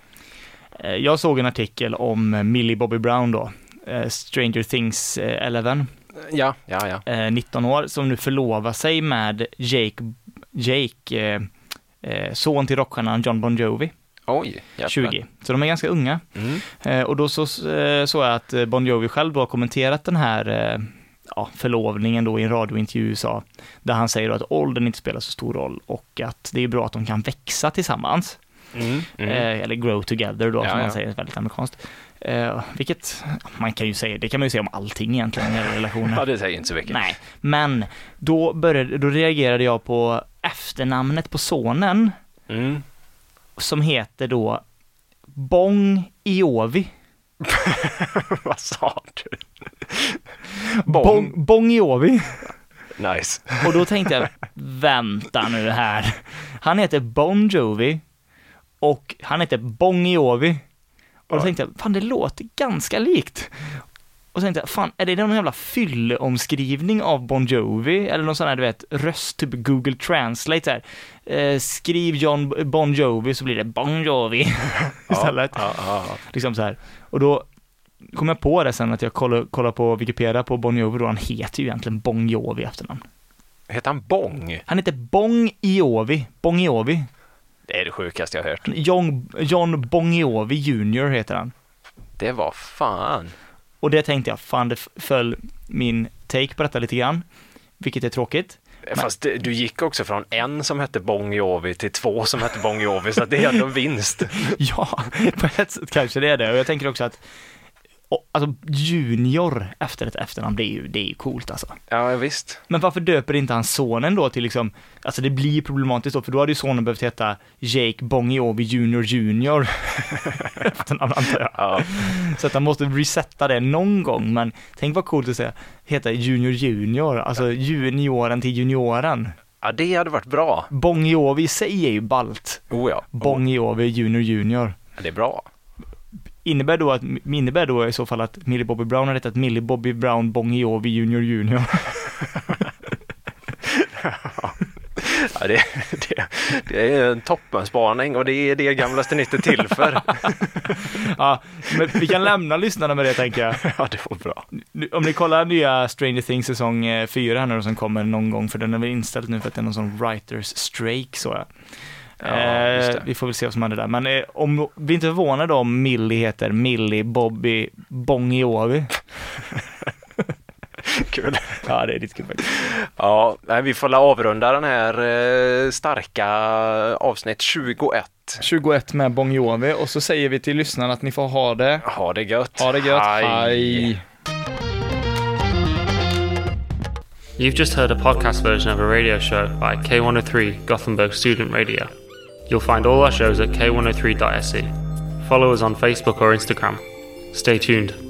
C: Eh, Jag såg en artikel om eh, Millie Bobby Brown då, eh, Stranger Things eh, 11
B: Ja, ja, ja.
C: eh, 19 år, som nu förlovar sig med Jake, Jake eh, eh, son till rockstjärnan John Bon Jovi,
B: Oj. jävlar.
C: 20. Så de är ganska unga.
B: Mm.
C: Eh, och då så, eh, såg jag att eh, Bon Jovi själv då har kommenterat den här eh, ja, förlovningen då i en radiointervju i USA, där han säger då att åldern inte spelar så stor roll och att det är bra att de kan växa tillsammans.
B: Mm. Mm.
C: Eh, eller grow together då,
B: Ja,
C: som man
B: ja.
C: säger väldigt amerikanskt. Eh, vilket, man kan ju säga, det kan man ju säga om allting egentligen i relationer.
B: Ja, det säger inte så mycket.
C: Nej, men då, började, då reagerade jag på efternamnet på sonen
B: Mm.
C: som heter då Bong Iovi.
B: Vad sa du?
C: Bong, Bong Iovi.
B: Nice.
C: Och då tänkte jag, vänta nu här. Han heter Bon Jovi och han heter Bong Iovi. Och då tänkte jag, fan det låter ganska likt. Och så tänkte jag, fan är det någon jävla fylleomskrivning av Bon Jovi? Eller någon sån här, du vet, röst, typ Google Translate så här. Eh, skriv John Bon Jovi så blir det Bon Jovi istället.
B: Ja, ja, ja.
C: Liksom så här. Och då kom jag på det sen att jag kollade, kollade på Wikipedia på Bon Jovi då, han heter ju egentligen Bon Jovi i efternamn.
B: Heter han Bong?
C: Han heter Bong Iovi. Bong Iovi.
B: Det är det sjukaste jag har hört.
C: John, John Bong Iovi Junior heter han.
B: Det var fan.
C: Och det tänkte jag, fan det f- föll min take på detta lite grann. Vilket är tråkigt.
B: Fast det- du gick också från en som hette Bong Jovi till två som hette Bong Jovi, så att det är ändå en vinst.
C: Ja, på ett sätt kanske det är det. Och jag tänker också att och, alltså Junior efter ett efternamn, det är ju, det är ju coolt alltså.
B: Ja, visst.
C: Men varför döper inte han sonen då till liksom, alltså det blir problematiskt då, för då hade ju sonen behövt heta Jake Bongiovi Junior Junior. Efternamn antar jag.
B: Ja,
C: Så att han måste resetta det någon gång, men tänk vad coolt att säga, heta Junior Junior, alltså junioren till junioren.
B: ja det hade varit bra.
C: Bongiovi i sig är ju balt.
B: Oh ja.
C: Bongiovi Junior Junior.
B: Ja, Det är bra.
C: Innebär då, att, innebär då i så fall att Millie Bobby Brown har hetat Millie Bobby Brown Bongiovi Junior Junior?
B: Ja, det, det, det är en toppenspaning och det är det gamlaste nytt är till för.
C: ja, men vi kan lämna lyssnarna med det tänker jag.
B: Ja, det var bra.
C: Nu- Om ni kollar nya Stranger Things säsong eh, 4 här nu då, som kommer någon gång, för den är väl inställd nu för att det är någon sån writers strike så jag.
B: Ja, just det.
C: Eh, vi får väl se vad som händer där. Men eh, om vi inte förvånade om Millie heter Millie Bobby Bongiovi.
B: Kul.
C: Ja, det är lite kul faktiskt.
B: Ja, nej, vi får la avrunda den här eh, starka avsnitt 21.
C: 21 med Bongiovi och så säger vi till lyssnarna att ni får ha det.
B: Ha det gött.
C: Ha det gött.
B: Hej.
C: Hej.
A: You've just heard a podcast version of a radio show by K103 Gothenburg Student Radio. You'll find oh E. all our shows at k103.se. Follow us on Facebook or Instagram. Stay tuned.